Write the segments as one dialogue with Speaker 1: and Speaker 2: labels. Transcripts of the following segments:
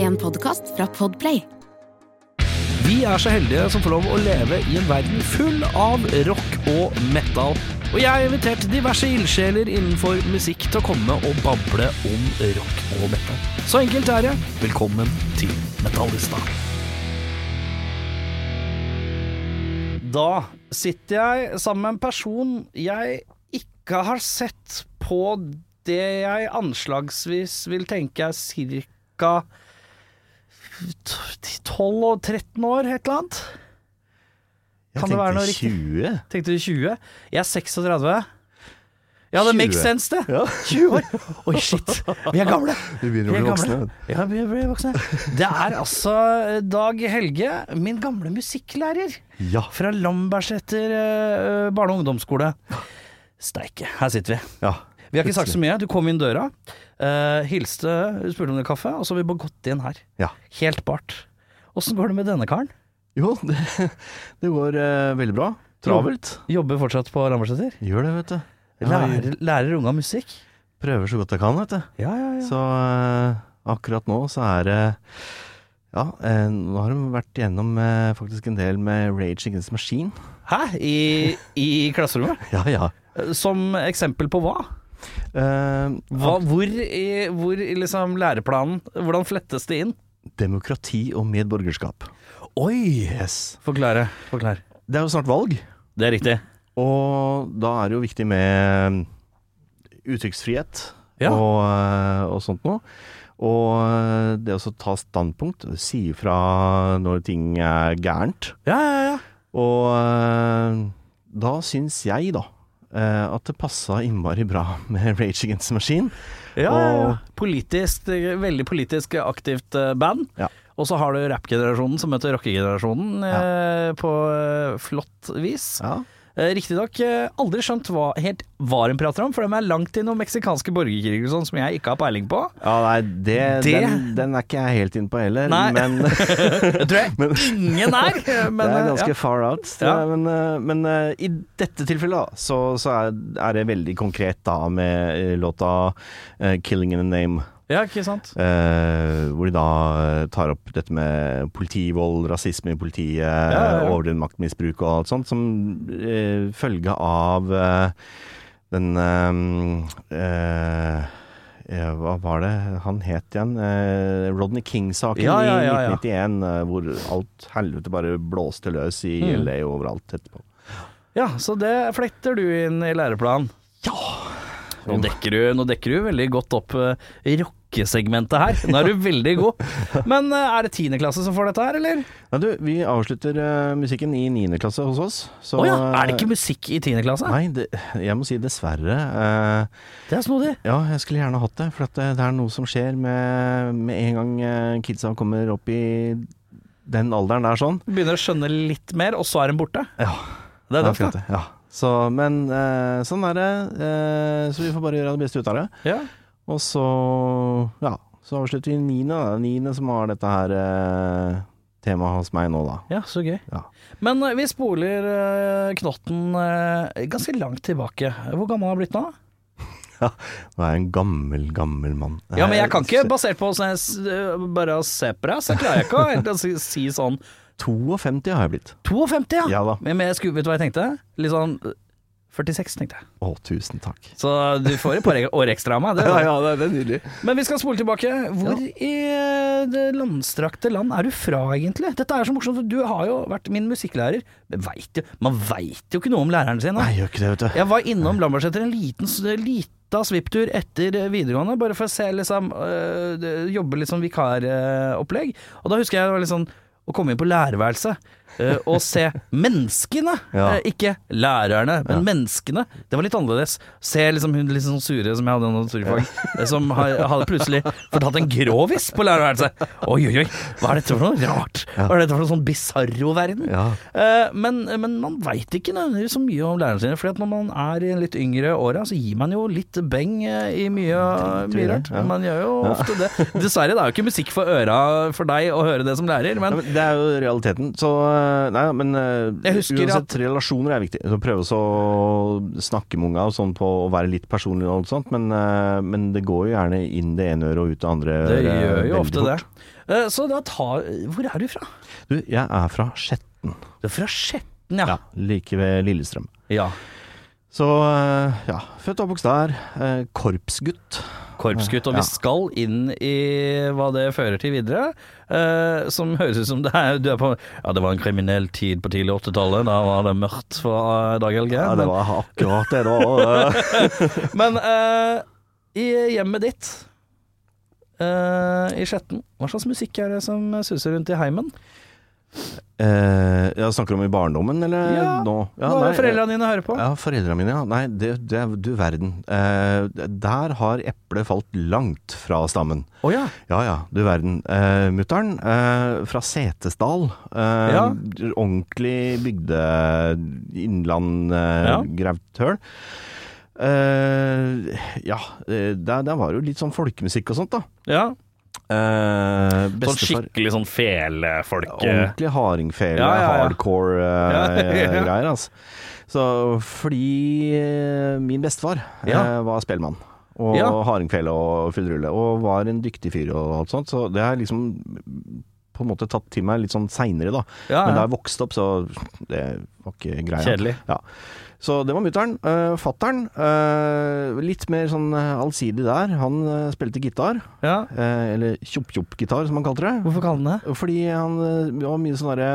Speaker 1: En podkast fra Podplay.
Speaker 2: Vi er så heldige som får lov å leve i en verden full av rock og metal. Og jeg har invitert diverse ildsjeler innenfor musikk til å komme og bable om rock og metal. Så enkelt er det. Velkommen til Metallista. Da sitter jeg sammen med en person jeg ikke har sett på det jeg anslagsvis vil tenke er ca. 12 og 13 år, et eller annet.
Speaker 3: Jeg
Speaker 2: Kan det være
Speaker 3: tenkte
Speaker 2: noe riktig?
Speaker 3: 20?
Speaker 2: Tenkte du 20? Jeg er 36. Ja, det
Speaker 3: 20.
Speaker 2: makes sense, det.
Speaker 3: Ja.
Speaker 2: 20 år. Oi, shit. Vi er gamle.
Speaker 3: Du
Speaker 2: Vi
Speaker 3: begynner å
Speaker 2: er
Speaker 3: bli
Speaker 2: gamle.
Speaker 3: voksen. ja.
Speaker 2: Ja, vi blir voksne. Det er altså Dag Helge, min gamle musikklærer
Speaker 3: Ja.
Speaker 2: fra Lambertseter eh, barne- og ungdomsskole. Steike, her sitter vi.
Speaker 3: ja.
Speaker 2: Vi har ikke sagt så mye. Du kom inn døra, eh, hilste, spurte om det er kaffe, og så har vi bare gått inn her.
Speaker 3: Ja.
Speaker 2: Helt bart. Åssen går det med denne karen?
Speaker 3: Jo, det, det går eh, veldig bra. Travelt.
Speaker 2: Jobber fortsatt på Lambertseter?
Speaker 3: Gjør det, vet du. Jeg
Speaker 2: Lærer, lærer unga musikk?
Speaker 3: prøver så godt jeg kan, vet du.
Speaker 2: Ja, ja, ja.
Speaker 3: Så eh, akkurat nå så er det ja, eh, nå har de vært gjennom eh, faktisk en del med Rage Against the Machine.
Speaker 2: Hæ? I, i klasserommet?
Speaker 3: Ja, ja.
Speaker 2: Som eksempel på hva?
Speaker 3: Eh,
Speaker 2: hva hvor i, hvor i liksom læreplanen Hvordan flettes det inn?
Speaker 3: demokrati og medborgerskap.
Speaker 2: Oi!
Speaker 3: Yes.
Speaker 2: Forklare. Forklar.
Speaker 3: Det er jo snart valg,
Speaker 2: Det er riktig.
Speaker 3: og da er det jo viktig med eh, uttrykksfrihet.
Speaker 2: Ja.
Speaker 3: og, eh, og sånt noe. Og eh, det å så ta standpunkt, si ifra når ting er gærent.
Speaker 2: ja, ja, ja.
Speaker 3: Og eh, da syns jeg, da, eh, at det passa innmari bra med Rage Against the Machine.
Speaker 2: ja, ja, ja.
Speaker 3: Og-
Speaker 2: Politisk, veldig politisk aktivt eh, band.
Speaker 3: Ja.
Speaker 2: Og så har du rap-generasjonen som møter rockegenerasjonen eh, på eh, flott vis.
Speaker 3: Ja.
Speaker 2: Eh, Riktignok eh, aldri skjønt hva, helt hva de prater om, for de er langt innom meksikanske borgerkriger og sånn, som jeg ikke har peiling på.
Speaker 3: nei, det,
Speaker 2: Det-
Speaker 3: Den, den er ikke jeg helt inne på heller,
Speaker 2: Nei.
Speaker 3: men det
Speaker 2: Det tror jeg ingen er! Men,
Speaker 3: er
Speaker 2: eh,
Speaker 3: ganske
Speaker 2: ja.
Speaker 3: far out. tror
Speaker 2: Ja.
Speaker 3: jeg. Men, eh, men eh, i dette tilfellet, da, så, så er, er det veldig konkret da med eh, låta eh, 'Killing in a Name'.
Speaker 2: ja, ikke sant?
Speaker 3: Eh, hvor de da eh, tar opp dette med politivold, rasisme i politiet,
Speaker 2: ja, ja.
Speaker 3: overdreven maktmisbruk og alt sånt, som eh, følge av eh, den eh, eh, ja, Hva var det han het igjen? Eh, Rodney King-saken
Speaker 2: Ja, ja, ja,
Speaker 3: i
Speaker 2: ja.
Speaker 3: 1991, eh, hvor alt helvete bare blåste løs i
Speaker 2: Mm.
Speaker 3: LA og overalt etterpå.
Speaker 2: Ja, så det fletter du inn i læreplanen.
Speaker 3: Ja!
Speaker 2: Nå dekker du, nå dekker du veldig godt opp uh, rockesegmentet her. Nå er du veldig god. Men eh, er det tiendeklasse som får dette her, eller?
Speaker 3: Nei, du, vi avslutter eh, musikken i niende klasse hos oss.
Speaker 2: Å
Speaker 3: så,
Speaker 2: ja, er det
Speaker 3: eh,
Speaker 2: ikke musikk i tiendeklasse?
Speaker 3: Nei, det, jeg må si dessverre. Eh,
Speaker 2: Det er snodig.
Speaker 3: Ja, jeg skulle gjerne hatt det, for at eh, det, det er noe som skjer med, med en gang eh, kidsa kommer opp i den alderen der sånn.
Speaker 2: Begynner å skjønne litt mer, og så er den borte.
Speaker 3: Ja,
Speaker 2: Det er
Speaker 3: akkurat
Speaker 2: døft, da.
Speaker 3: det. Ja. Så, men eh, sånn er det, eh, så vi får bare gjøre det beste ut av det.
Speaker 2: Ja.
Speaker 3: Og så, ja, så avslutter vi niende, da. Niende som har dette her eh, temaet hos meg nå, da.
Speaker 2: Ja, så gøy.
Speaker 3: Ja.
Speaker 2: Men eh, vi spoler eh, knotten eh, ganske langt tilbake. Hvor gammel har han blitt nå?
Speaker 3: Nå er jeg en gammel, gammel mann.
Speaker 2: Ja, men jeg kan ikke,
Speaker 3: Eh,
Speaker 2: basert på sånn jeg s- bare å se på deg, så klarer jeg ikke å helt å si- si sånn
Speaker 3: 52 har jeg blitt.
Speaker 2: 52, ja!
Speaker 3: Ja da.
Speaker 2: Men men jeg skulle, vet du hva jeg tenkte? Litt sånn øh, 46, tenkte jeg.
Speaker 3: Å, tusen takk.
Speaker 2: Så du får et par e- år ekstra av meg. Det.
Speaker 3: ja, det, det er nydelig.
Speaker 2: Men vi skal spole tilbake. Hvor i øh, det landstrakte land er du fra, egentlig? Dette er så morsomt, for du har jo vært min musikklærer. Men vet jo, man veit jo ikke noe om læreren sin. Da.
Speaker 3: Nei, jeg gjør ikke det, vet du.
Speaker 2: Jeg var innom Lambertseter en liten s- lita svipptur etter eh, videregående, bare for å se liksom øh, det- Jobbe litt sånn vikaropplegg. Og da husker jeg det var litt sånn å komme inn på lærerværelset eh, og se menneskene,
Speaker 3: Ja.
Speaker 2: eh, ikke lærerne, men
Speaker 3: Ja.
Speaker 2: menneskene. Det var litt annerledes. Se liksom hun litt sånn sure som jeg hadde i naturfag, eh, som ha- hadde plutselig fortalt en grovis på lærerværelset. Oi, oi, oi, hva er dette for noe rart? Hva er dette for noe sånn bisarro-verden?
Speaker 3: Ja.
Speaker 2: Eh, Men, men man veit ikke nødvendigvis så mye om lærerne sine, for når man er i litt yngre åra, så gir man jo litt beng eh, i mye,
Speaker 3: Tenkte vi
Speaker 2: mye
Speaker 3: det,
Speaker 2: rart.
Speaker 3: ja.
Speaker 2: Man gjør jo ofte det. Dessverre, det er jo ikke musikk for øra for deg å høre det som lærer, men
Speaker 3: Ja, men det er jo realiteten. Så eh, Nei, men eh,
Speaker 2: Jeg husker
Speaker 3: uansett,
Speaker 2: at-
Speaker 3: relasjoner er viktig. Så prøve så å snakke med unga og sånn på å være litt personlig og alt sånt, men, eh, men det går jo gjerne inn det ene øret og ut det andre.
Speaker 2: Det
Speaker 3: øret
Speaker 2: gjør jo
Speaker 3: veldig
Speaker 2: ofte det.
Speaker 3: fort.
Speaker 2: Eh, Så da tar Hvor er du fra?
Speaker 3: Du, jeg er fra Skjetten.
Speaker 2: Du er fra Skjetten, ja.
Speaker 3: Ja, like ved Lillestrøm.
Speaker 2: ja.
Speaker 3: Så eh, ja, født og oppvokst der. eh, Korpsgutt.
Speaker 2: Korpsgutt. Og
Speaker 3: Ja.
Speaker 2: vi skal inn i hva det fører til videre. eh, som høres ut som det er, du er på Ja, det var en kriminell tid på tidlig 80-tallet. Da var det mørkt for eh, Dag Helge.
Speaker 3: Ja, det var akkurat det det var. eh.
Speaker 2: Men eh, i hjemmet ditt eh, i Skjetten, hva slags musikk er det som suser rundt i heimen?
Speaker 3: Eh, jeg snakker om i barndommen, eller
Speaker 2: Ja,
Speaker 3: nå?
Speaker 2: hva er
Speaker 3: nei,
Speaker 2: det foreldrene dine hører på?
Speaker 3: Ja, foreldra mine, ja. Nei, det, det, er- du verden. Eh, der har eplet falt langt fra stammen.
Speaker 2: Å ja.
Speaker 3: Ja ja, du verden. Eh, Mutter'n eh, fra Setesdal. Eh,
Speaker 2: Ja.
Speaker 3: Ordentlig bygde innland eh,
Speaker 2: Ja.
Speaker 3: gravd høl. Eh, ja, eh, der, der var det jo litt sånn folkemusikk og sånt, da.
Speaker 2: ja.
Speaker 3: Eh,
Speaker 2: Sånn
Speaker 3: bestefar
Speaker 2: skikkelig sånn felefolk eh.
Speaker 3: Ordentlig hardingfele,
Speaker 2: Ja, ja, ja.
Speaker 3: hardcore eh,
Speaker 2: Ja, ja.
Speaker 3: greier, altså. Så, fordi eh, min bestefar eh,
Speaker 2: Ja.
Speaker 3: var spellemann. Og
Speaker 2: Ja.
Speaker 3: hardingfele og full rulle, og var en dyktig fyr og alt sånt. Så det har jeg liksom på en måte tatt til meg litt sånn seinere, da.
Speaker 2: Ja,
Speaker 3: Men
Speaker 2: ja.
Speaker 3: da jeg vokste opp, så det var ikke greia.
Speaker 2: Kjedelig.
Speaker 3: Ja. Så det var mutter'n. Uh, Fatter'n, eh, litt mer sånn eh, allsidig der. Han eh, spilte gitar,
Speaker 2: Ja.
Speaker 3: eh, eller tjopp-tjopp-gitar som han kalte det.
Speaker 2: Hvorfor kaller han det
Speaker 3: Fordi han eh, det var mye sånn derre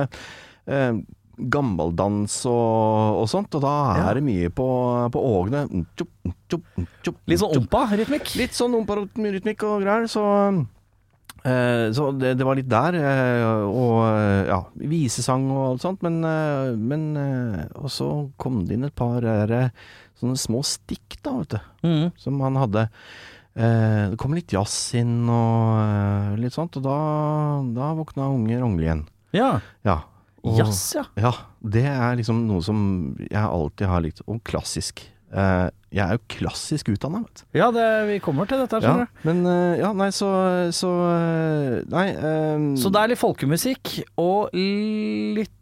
Speaker 3: eh, Gammeldans og, og sånt, og da er
Speaker 2: Ja.
Speaker 3: det mye på, på ågne. Mm, tjopp, mm, tjopp, mm, tjopp, mm,
Speaker 2: Litt sånn
Speaker 3: tjopp.
Speaker 2: ompa-rytmikk?
Speaker 3: Litt sånn ompa-rytmikk og greier, så eh, så det, det var litt der, eh, og eh, ja, visesang og alt sånt, men, eh, men eh, Og så kom det inn et par eh, sånne små stikk, da, vet du
Speaker 2: Mm.
Speaker 3: som han hadde. Eh, det kom litt jazz inn og eh, litt sånt, og da, da våkna unge Rognli igjen.
Speaker 2: Ja.
Speaker 3: Ja. og-
Speaker 2: Jazz, ja.
Speaker 3: Ja. Det er liksom noe som jeg alltid har likt, og klassisk. Eh, jeg er jo klassisk utdanna, vet du.
Speaker 2: Ja, det, vi kommer til dette, her,
Speaker 3: Ja,
Speaker 2: skjønner du.
Speaker 3: men eh, ja, nei, så, så eh, Nei. eh,
Speaker 2: Så det er litt folkemusikk og litt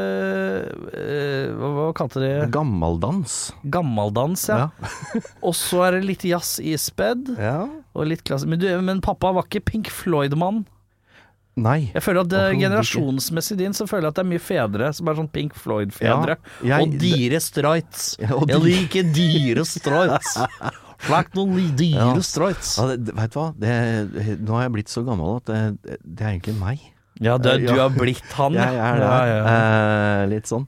Speaker 2: eh, eh, hva, hva kalte de det?
Speaker 3: Gammeldans.
Speaker 2: Gammeldans, ja. Og så er det litt jazz ispedd.
Speaker 3: Ja.
Speaker 2: Og litt klasse. Men, du, men pappa var ikke Pink Floyd-mann.
Speaker 3: Nei.
Speaker 2: Jeg føler at det,
Speaker 3: Overhodet ikke.
Speaker 2: Generasjonsmessig din så føler jeg at det er mye fedre som er sånn Pink Floyd-fedre.
Speaker 3: Ja, jeg-
Speaker 2: og dyre strøyts.
Speaker 3: Ja, og
Speaker 2: jeg
Speaker 3: dyre-
Speaker 2: liker dyre strøyts. Flak noen li- dyre
Speaker 3: Ja.
Speaker 2: strøyts.
Speaker 3: Ja, det, vet du hva, det, nå har jeg blitt så gammel at det, det er egentlig meg.
Speaker 2: Ja, du, du
Speaker 3: Ja.
Speaker 2: har blitt han,
Speaker 3: Jeg er det.
Speaker 2: Ja, ja, ja.
Speaker 3: Eh, litt sånn.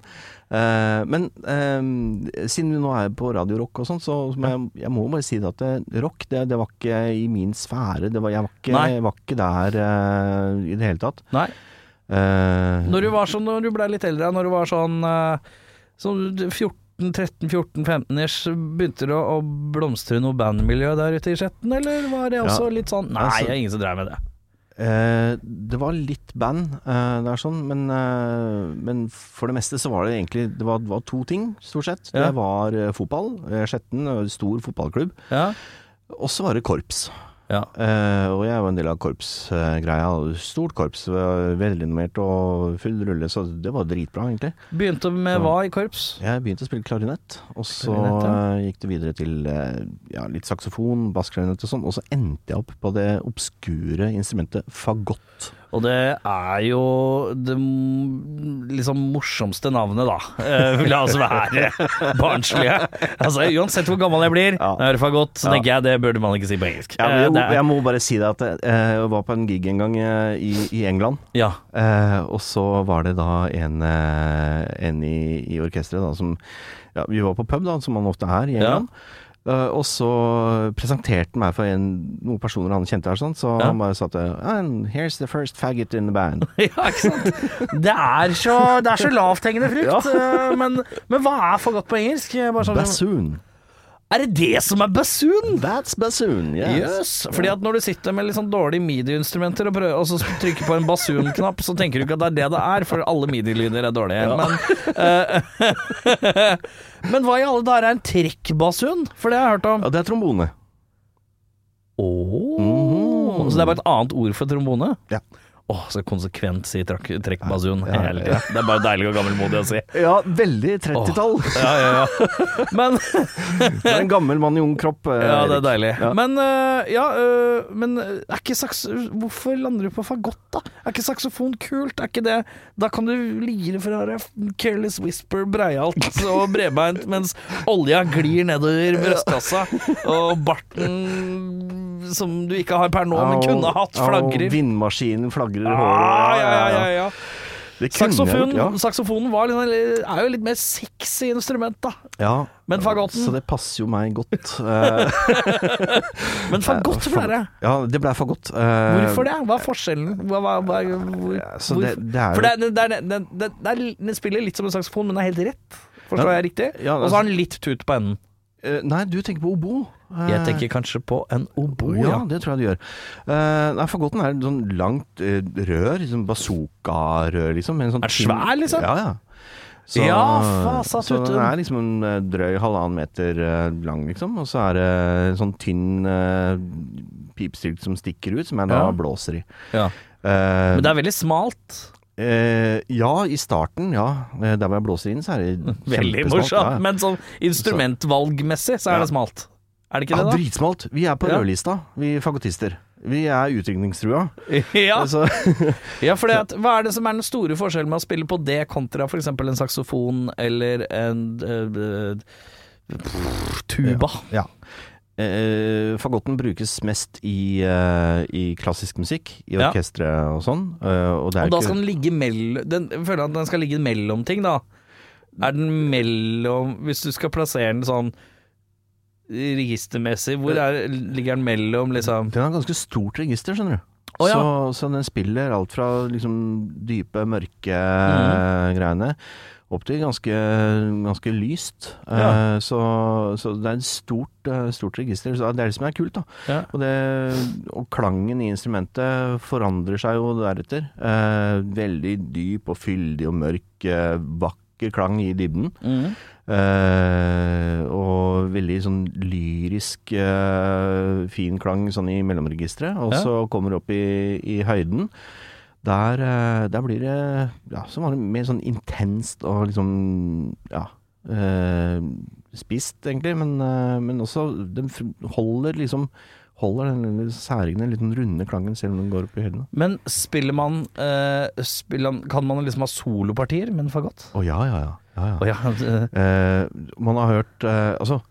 Speaker 3: Eh, men eh, siden vi nå er på Radio Rock og sånn, så må jeg, jeg må bare si det at det, rock, det, det var ikke i min sfære. Det var, jeg, var ikke,
Speaker 2: Nei.
Speaker 3: jeg var ikke der eh, i det hele tatt.
Speaker 2: Nei.
Speaker 3: Eh,
Speaker 2: Når du var sånn, når du ble litt eldre, når du var sånn, eh, sånn 13-14-15-ish, begynte det å å blomstre noe bandmiljø der ute i Skjetten, eller var det også litt sånn Nei,
Speaker 3: Altså-
Speaker 2: det er ingen som dreier med det.
Speaker 3: eh, det var litt band eh, der, sånn, men, eh, men for det meste så var det egentlig Det var, det var to ting, stort sett.
Speaker 2: Ja.
Speaker 3: Det var eh, fotball. eh, Skjetten, eh, stor fotballklubb.
Speaker 2: Ja.
Speaker 3: Og så var det korps.
Speaker 2: Ja.
Speaker 3: Eh, og jeg var en del av korpsgreia. Stort korps, eh, velrenommert og full rulle, så det var dritbra, egentlig.
Speaker 2: Begynte med hva i korps?
Speaker 3: Jeg begynte å spille klarinett, og så
Speaker 2: Klarinett, ja.
Speaker 3: eh, gikk det videre til eh, ja, litt saksofon, bassklarinett og sånn, og så endte jeg opp på det obskure instrumentet fagott.
Speaker 2: Og det er jo det m- liksom morsomste navnet, da. Eh, vil jeg altså være barnslige. Altså, uansett hvor gammel jeg blir,
Speaker 3: Ja.
Speaker 2: når jeg hører for godt, så
Speaker 3: Ja.
Speaker 2: tenker jeg det burde man ikke si på engelsk.
Speaker 3: Jeg,
Speaker 2: Eh,
Speaker 3: jeg,
Speaker 2: det er-
Speaker 3: må bare si det at jeg, eh, var på en gig en gang eh, i, i England.
Speaker 2: ja.
Speaker 3: Eh, og så var det da en, eh, en i, i orkesteret da, som ja, Vi var på pub, da, som man ofte er i
Speaker 2: Ja.
Speaker 3: England. Eh, og så presenterte han meg for en, noen personer han kjente her, sånn, så
Speaker 2: Ja.
Speaker 3: han bare satte And here's the first faggot in the band.
Speaker 2: ja, ikke sant? Det er så, det er så lavthengende frukt. eh, Men, men hva er for godt på engelsk? Jeg Bare sånn,
Speaker 3: Bassoon.
Speaker 2: er det det som er bassoon?
Speaker 3: That's bassoon, yes.
Speaker 2: Yes. Fordi at når du sitter med litt sånn dårlige midi-instrumenter og, prøver, og så trykker på en basun-knapp, så tenker du ikke at det er det det er, for alle midi-lyder er dårlige. Men, eh, men hva i alle dager er en trekkbasun? For det har jeg hørt om.
Speaker 3: Ja, det er trombone.
Speaker 2: Mhm. Åh. Så det er bare et annet ord for trombone?
Speaker 3: Ja.
Speaker 2: Å, så konsekvent sier trakk, trekk basun
Speaker 3: Ja, ja,
Speaker 2: hele
Speaker 3: ja.
Speaker 2: tida. Det er bare deilig og gammelmodig å si.
Speaker 3: Ja, veldig 30-tall.
Speaker 2: Ja, ja, ja. Men
Speaker 3: Du er en gammel mann i ung kropp. eh,
Speaker 2: Ja, det er
Speaker 3: Erik.
Speaker 2: deilig.
Speaker 3: Ja.
Speaker 2: Men øh, ja, øh, men er ikke saks... Hvorfor lander du på fagott, da? Er ikke saksofon kult? Er ikke det Da kan du lire fra deg Careless Whisper breialt altså, og bredbeint mens olja glir nedover brystkassa, og barten som du ikke har per nå, men
Speaker 3: Ja, og-
Speaker 2: kunne hatt,
Speaker 3: ja, Og
Speaker 2: flagrer.
Speaker 3: vindmaskinen flagrer i
Speaker 2: Ah,
Speaker 3: håret.
Speaker 2: ja, ja, ja, ja.
Speaker 3: Det kunne jeg
Speaker 2: Saksofon,
Speaker 3: gjort, ja.
Speaker 2: Saksofonen var litt, sånn- er jo litt mer sexy instrument, da.
Speaker 3: Ja.
Speaker 2: Men fagotten-
Speaker 3: Så det passer jo meg godt. Eh,
Speaker 2: Men fagott ble det.
Speaker 3: Ja, det ble fagott. Eh,
Speaker 2: Hvorfor det? Hva er forskjellen? Hva, hva, hva, hvor,
Speaker 3: Ja, så det-
Speaker 2: hvorfor?
Speaker 3: det er jo-
Speaker 2: For det, er- det, er- det, er- det, er- det, er- den spiller litt som en saksofon, men den er helt rett. Forstår
Speaker 3: Ja.
Speaker 2: jeg riktig?
Speaker 3: Ja,
Speaker 2: Og så har den litt tut på enden.
Speaker 3: Eh, nei, du tenker på obo. Eh,
Speaker 2: Jeg tenker kanskje på en obo,
Speaker 3: ja,
Speaker 2: ja.
Speaker 3: det tror jeg du gjør. Eh, nei, fagotten er et sånn langt eh, rør, liksom bazooka-rør, liksom. med en sånn
Speaker 2: Er det
Speaker 3: tynn-
Speaker 2: svær, liksom?
Speaker 3: Ja, ja.
Speaker 2: Ja, fasatt
Speaker 3: så den
Speaker 2: uten.
Speaker 3: er liksom en eh, drøy halvannen meter eh, lang, liksom. Og så er det en sånn tynn eh, pipstilk som stikker ut, som jeg da
Speaker 2: Ja.
Speaker 3: blåser i.
Speaker 2: ja.
Speaker 3: Eh,
Speaker 2: Men det er veldig smalt.
Speaker 3: eh, ja, i starten, ja. Eh, Der hvor jeg blåser inn, så er det
Speaker 2: Veldig
Speaker 3: kjempesmalt, ja, ja.
Speaker 2: morsomt. Men sånn instrumentvalgmessig så
Speaker 3: Ja.
Speaker 2: er det smalt. Er det ikke
Speaker 3: Ja,
Speaker 2: det,
Speaker 3: dritsmalt. Vi er på
Speaker 2: Ja.
Speaker 3: rødlista, vi fagottister. Vi er utrykningstrua. Altså,
Speaker 2: da? Ja,
Speaker 3: Så,
Speaker 2: ja for hva er det som er den store forskjellen med å spille på det kontra f.eks. en saksofon eller en øh, øh, tuba?
Speaker 3: ja. Eh, fagotten brukes mest i, eh, i klassisk musikk, i
Speaker 2: Ja.
Speaker 3: orkestre og sånn. Eh, og det er
Speaker 2: Og da
Speaker 3: ikke
Speaker 2: skal den ligge mellom den, Jeg føler at den skal ligge mellom ting, da. Er den mellom Hvis du skal plassere den sånn registermessig, hvor er, ligger den mellom, liksom?
Speaker 3: Den har ganske stort register, skjønner du.
Speaker 2: Å, ja.
Speaker 3: så, så den spiller alt fra liksom dype, mørke
Speaker 2: Mhm.
Speaker 3: eh, greiene opp til ganske, ganske lyst. Eh,
Speaker 2: Ja.
Speaker 3: så, så det er et stort, eh, stort register. Så det er det som er kult, da.
Speaker 2: Ja.
Speaker 3: Og, det, og klangen i instrumentet forandrer seg jo deretter. Eh, veldig dyp og fyldig og mørk, eh, vakker klang i dybden.
Speaker 2: Mm.
Speaker 3: Eh, og veldig sånn lyrisk eh, fin klang sånn i mellomregisteret. Og
Speaker 2: Ja.
Speaker 3: så kommer du opp i, i høyden. Der, eh, der blir det ja, som vanlig mer sånn intenst og liksom ja eh, spist, egentlig. Men, eh, men også den fr- holder liksom Holder den lille særegne, litt sånn runde klangen selv om den går opp i høydene.
Speaker 2: Men spiller man, eh, spiller, Kan man liksom ha solopartier med en fagott?
Speaker 3: Å ja, ja, ja. ja, ja.
Speaker 2: Å ja. eh,
Speaker 3: Eh, man har hørt eh, Altså,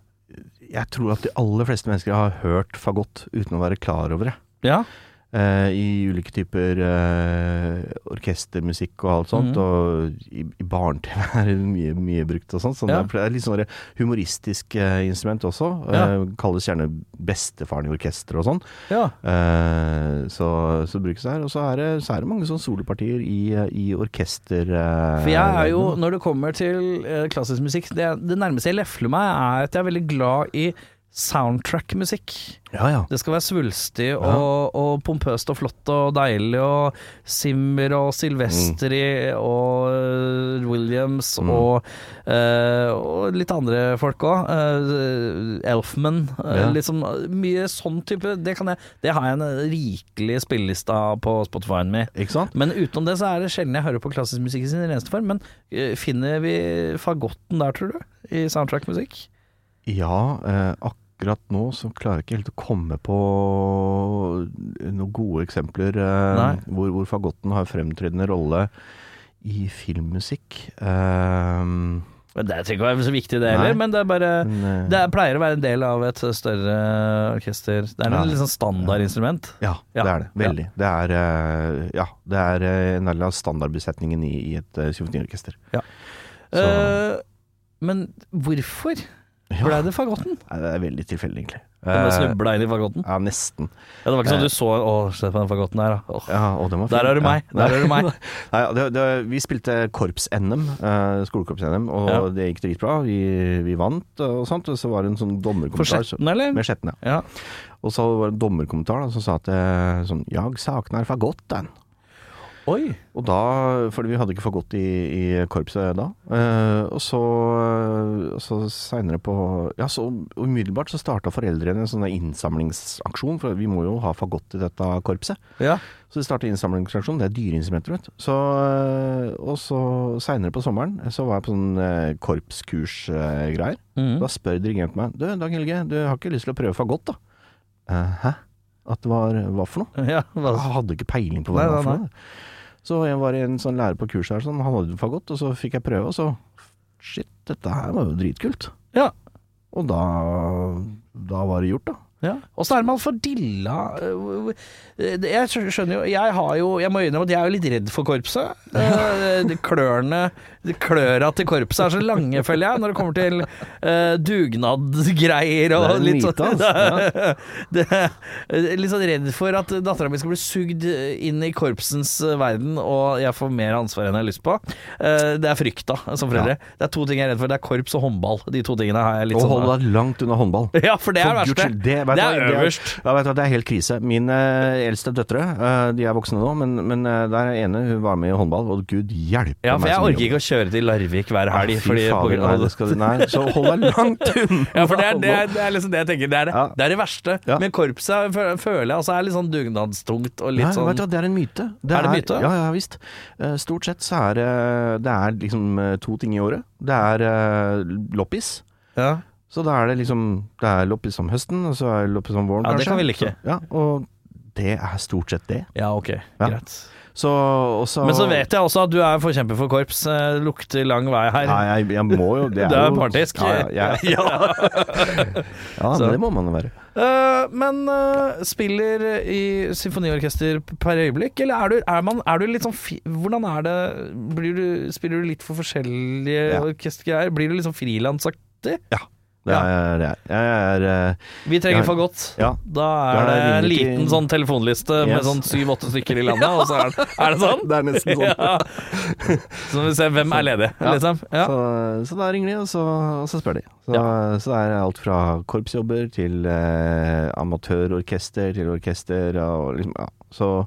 Speaker 3: jeg tror at de aller fleste mennesker har hørt fagott uten å være klar over det.
Speaker 2: ja.
Speaker 3: Eh, I ulike typer eh, orkestermusikk og alt sånt.
Speaker 2: Mhm.
Speaker 3: Og i, i barne-TV er det mye, mye brukt og sånt. Så
Speaker 2: Ja.
Speaker 3: det er litt sånn humoristisk eh, instrument også.
Speaker 2: Ja.
Speaker 3: Eh, kalles gjerne bestefaren i orkesteret og sånn.
Speaker 2: ja.
Speaker 3: Eh, så, så brukes det her. Og så er det, så er det mange sånne solopartier i, eh, i orkester... eh,
Speaker 2: For jeg er jo, når det kommer til eh, klassisk musikk, det, det nærmeste jeg lefler meg, er at jeg er veldig glad i soundtrack-musikk.
Speaker 3: Ja, ja.
Speaker 2: Det skal være svulstig og, og pompøst og flott og deilig og Simmer og Silvestri og øh, Williams
Speaker 3: Mm.
Speaker 2: og, øh, og litt andre folk òg. Elfman. øh,
Speaker 3: Ja.
Speaker 2: Liksom øh, mye sånn type. Det, kan jeg, det har jeg en øh, rikelig spilleliste av på Spotify-en min.
Speaker 3: Ikke sant?
Speaker 2: Men utenom det så er det sjelden jeg hører på klassisk musikk i sin reneste form. Men øh, finner vi fagotten der, tror du? I soundtrack-musikk?
Speaker 3: Ja, eh, akkurat nå så klarer jeg ikke helt å komme på noen gode eksempler eh,
Speaker 2: Nei.
Speaker 3: hvor, hvor fagotten har fremtredende rolle i filmmusikk. Ehm,
Speaker 2: Men Det trenger ikke være så viktig, det heller,
Speaker 3: Nei.
Speaker 2: men det er bare
Speaker 3: men, eh,
Speaker 2: Det er, pleier å være en del av et større orkester. Det er
Speaker 3: Ja.
Speaker 2: en litt sånn standardinstrument.
Speaker 3: ja,
Speaker 2: ja,
Speaker 3: det er det. Veldig. Det er, eh, ja, det er eh, en del av standardbesetningen i, i et eh, symfoniorkester.
Speaker 2: Ja.
Speaker 3: Så,
Speaker 2: Eh, men hvorfor
Speaker 3: ja,
Speaker 2: blei det fagotten?
Speaker 3: nei, det er veldig tilfeldig, egentlig.
Speaker 2: Du bare
Speaker 3: Eh,
Speaker 2: snubla inn i fagotten?
Speaker 3: ja, nesten.
Speaker 2: Ja, det var ikke sånn du så Å, se på den fagotten her, da. Åh,
Speaker 3: Ja, og den var fin.
Speaker 2: Der er du
Speaker 3: Ja.
Speaker 2: meg! Der er du meg!
Speaker 3: Nei, ja, det, det, vi spilte korps-NM, eh, skolekorps-NM, og
Speaker 2: Ja.
Speaker 3: det gikk dritbra. Vi, vi vant og sånt, og så var det en sånn
Speaker 2: For
Speaker 3: dommerkommentar.
Speaker 2: sjetten, eller?
Speaker 3: Med sjetten, ja.
Speaker 2: Ja.
Speaker 3: Og så var det en dommerkommentar da, som sa at eh, sånn, 'Jag saknar fagotten'.
Speaker 2: Oi!
Speaker 3: Og da, fordi vi hadde ikke fått gått i, i korpset da. Eh, og så, og så seinere på Ja, så umiddelbart så starta foreldrene en sånn innsamlingsaksjon, for vi må jo ha fagott i dette korpset.
Speaker 2: Ja.
Speaker 3: Så de starta innsamlingsaksjon. Det er dyreinstrumenter, vet du. Så, eh, og så seinere på sommeren så var jeg på sånn eh, korpskursgreier. Da spør dirigenten meg Du, Dag Helge, du har ikke lyst til å prøve fagott, da? «Eh, hæ? At det var hva for noe?
Speaker 2: ja hva,
Speaker 3: Jeg hadde ikke peiling på hva
Speaker 2: Nei,
Speaker 3: det
Speaker 2: nei,
Speaker 3: var for noe. Så jeg var i en sånn lærer på kurset her, sånn, han hadde fagott, og så fikk jeg prøve, og så Shit, dette her var jo dritkult.
Speaker 2: ja.
Speaker 3: Og da Da var det gjort, da.
Speaker 2: Ja. Og så er man fordilla øh, øh, Jeg skjø- skjønner jo Jeg har jo Jeg må innrømme at jeg er jo litt redd for korpset. Eh, de Klørne de Kløra til korpset er så lange, føler jeg, når det kommer til eh, dugnadgreier og
Speaker 3: Det er
Speaker 2: litt
Speaker 3: lite,
Speaker 2: sånn.
Speaker 3: altså.
Speaker 2: Det er litt sånn redd for at dattera mi skal bli sugd inn i korpsens øh, verden, og jeg får mer ansvar enn jeg har lyst på. Eh, Det er frykta som foreldre. Det er to ting jeg er redd for. Det er korps og håndball. De to tingene har jeg litt
Speaker 3: Og
Speaker 2: sånn
Speaker 3: holde deg langt unna håndball.
Speaker 2: Ja, for det er det
Speaker 3: For
Speaker 2: verste.
Speaker 3: Guds skyld, Det, vet
Speaker 2: Det
Speaker 3: du hva,
Speaker 2: er øverst.
Speaker 3: Det er, ja, vet du hva, det er helt krise. Mine eh, eldste døtre, eh, de er voksne nå, men, men eh, der er ene hun var med i håndball, og gud hjelpe
Speaker 2: Ja, for
Speaker 3: meg.
Speaker 2: jeg orker ikke å kjøre til Larvik hver helg. fordi på grunn
Speaker 3: nei,
Speaker 2: av
Speaker 3: det
Speaker 2: det.
Speaker 3: skal, du- nei, så hold deg langt unna!
Speaker 2: Ja, for det er, det, er, det er liksom det jeg tenker. Det er det,
Speaker 3: Ja.
Speaker 2: det, er det verste.
Speaker 3: Ja.
Speaker 2: Men korpset fø- føler jeg også er litt sånn dugnadstungt og
Speaker 3: Nei,
Speaker 2: litt sånn
Speaker 3: vet du, hva, det er en myte.
Speaker 2: Er det myte?
Speaker 3: Ja, ja visst. Eh, Stort sett så er det, det er liksom eh, to ting i året. Det er eh, loppis.
Speaker 2: ja.
Speaker 3: Så da er det liksom Det er loppis om høsten, og så er det loppis om våren,
Speaker 2: Ja, det
Speaker 3: kanskje.
Speaker 2: kan vi like.
Speaker 3: Så, ja, og det er stort sett det.
Speaker 2: ja, ok. Greit.
Speaker 3: Så og så-
Speaker 2: Men så vet jeg også at du er forkjemper for korps. eh, Lukter lang vei her.
Speaker 3: ja, jeg, jeg må jo Det er,
Speaker 2: Du er
Speaker 3: jo-
Speaker 2: partisk.
Speaker 3: Ja, ja, ja, ja
Speaker 2: Så.
Speaker 3: men det må man jo være.
Speaker 2: Eh, men eh, spiller i symfoniorkester p- per øyeblikk, eller er du, er man, er du litt sånn fi, Hvordan er det Blir du, Spiller du litt for forskjellige
Speaker 3: Ja.
Speaker 2: orkestergreier? Blir du litt sånn frilansaktig?
Speaker 3: Det
Speaker 2: Ja.
Speaker 3: er det. Er. Jeg er eh,
Speaker 2: Vi trenger
Speaker 3: Ja.
Speaker 2: fagott.
Speaker 3: Ja.
Speaker 2: Da
Speaker 3: Da
Speaker 2: er det en
Speaker 3: ringer vi til-
Speaker 2: liten sånn telefonliste med
Speaker 3: Yes.
Speaker 2: sånn syv-åtte stykker i landet, og så er det, er det sånn?
Speaker 3: Det er nesten sånn.
Speaker 2: Ja. Så må vi se hvem er ledig,
Speaker 3: Ja.
Speaker 2: liksom. Ja.
Speaker 3: Så, så da ringer de, og så, og så spør de. Så, så det er alt fra korpsjobber til eh, amatørorkester til orkester og liksom Ja, så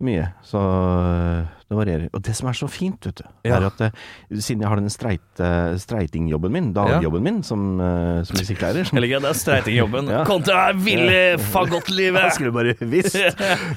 Speaker 3: mye. Så eh, det varierer. Og det som er så fint, vet du,
Speaker 2: Ja.
Speaker 3: er at eh, siden jeg har den streite, streitingjobben min, dagjobben min som, eh, som musikklærer som-
Speaker 2: Eller ikke, det er streitingjobben.
Speaker 3: Ja.
Speaker 2: Kontra det ville
Speaker 3: jeg
Speaker 2: fagottlivet!
Speaker 3: skulle bare visst.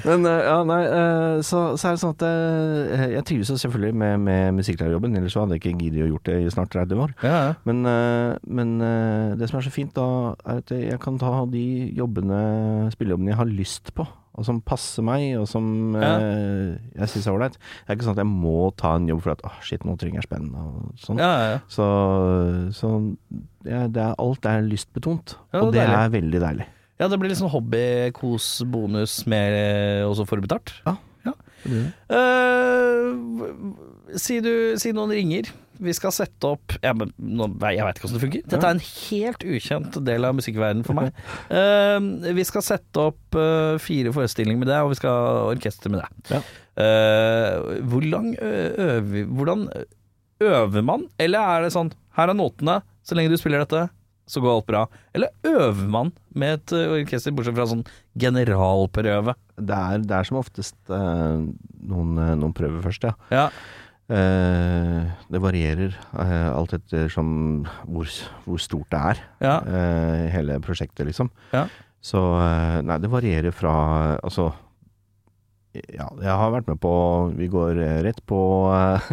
Speaker 3: Men eh, ja, nei, eh, så, så er det sånn at eh, jeg trives jo selvfølgelig med, med musikklærerjobben, ellers så hadde jeg ikke giddet å gjort det i snart 30 år.
Speaker 2: Ja, ja.
Speaker 3: Men, eh, men eh, det som er så fint da, er at jeg kan ta de jobbene, spillejobbene jeg har lyst på, og som passer meg, og som eh, jeg syns er ålreit. Det er ikke sånn at jeg må ta en jobb fordi at åh, shit, nå trenger jeg spenn og sånn.
Speaker 2: Ja, ja, ja.
Speaker 3: Så, så ja, det er, alt er lystbetont,
Speaker 2: Ja,
Speaker 3: og
Speaker 2: det
Speaker 3: det
Speaker 2: er deilig.
Speaker 3: er veldig deilig.
Speaker 2: Ja, det blir litt sånn hobby, kos, bonus, mer eh, også forbetalt.
Speaker 3: Ja.
Speaker 2: Eh, si, du, si noen ringer. Vi skal sette opp ja, men, nå, Jeg veit ikke åssen det funker. Dette er en helt ukjent del av musikkverdenen for meg. Eh, vi skal sette opp eh, fire forestillinger med deg, og vi skal ha orkester med deg.
Speaker 3: Ja.
Speaker 2: Eh, hvor lang ø- øver, hvordan øver man? Eller er det sånn Her er notene, så lenge du spiller dette, så går alt bra. Eller øver man med et ø, orkester, bortsett fra sånn generalprøve?
Speaker 3: Det er, det er som oftest eh, noen, eh, noen prøver først, ja.
Speaker 2: Ja.
Speaker 3: Eh, det varierer eh, alt etter som hvor, hvor stort det er.
Speaker 2: ja.
Speaker 3: eh, hele prosjektet, liksom.
Speaker 2: Ja.
Speaker 3: Så eh, Nei, det varierer fra Altså Ja, jeg har vært med på Vi går eh, rett på eh,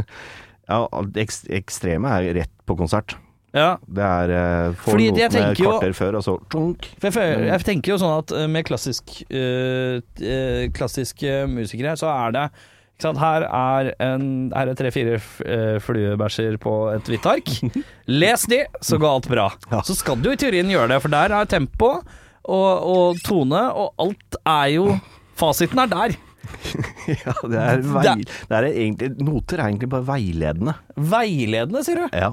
Speaker 3: Ja, det ekst- ekstreme er rett på konsert.
Speaker 2: ja.
Speaker 3: Det er eh, Får
Speaker 2: Fordi jeg
Speaker 3: notene et
Speaker 2: tenker jo-
Speaker 3: kvarter før, og så tjunk.
Speaker 2: For jeg, føler, jeg tenker jo sånn at eh, med klassisk, eh, eh, klassiske musikere, så er det ikke sant? Her er, en- her er tre-fire f- eh, fluebæsjer på et hvitt ark. Les de, så går alt bra. Så skal du i teorien gjøre det, for der er tempo og, og tone, og alt er jo Fasiten er der.
Speaker 3: Ja, det er, vei, det er egentlig Noter er egentlig bare veiledende.
Speaker 2: Veiledende, sier du?
Speaker 3: Ja.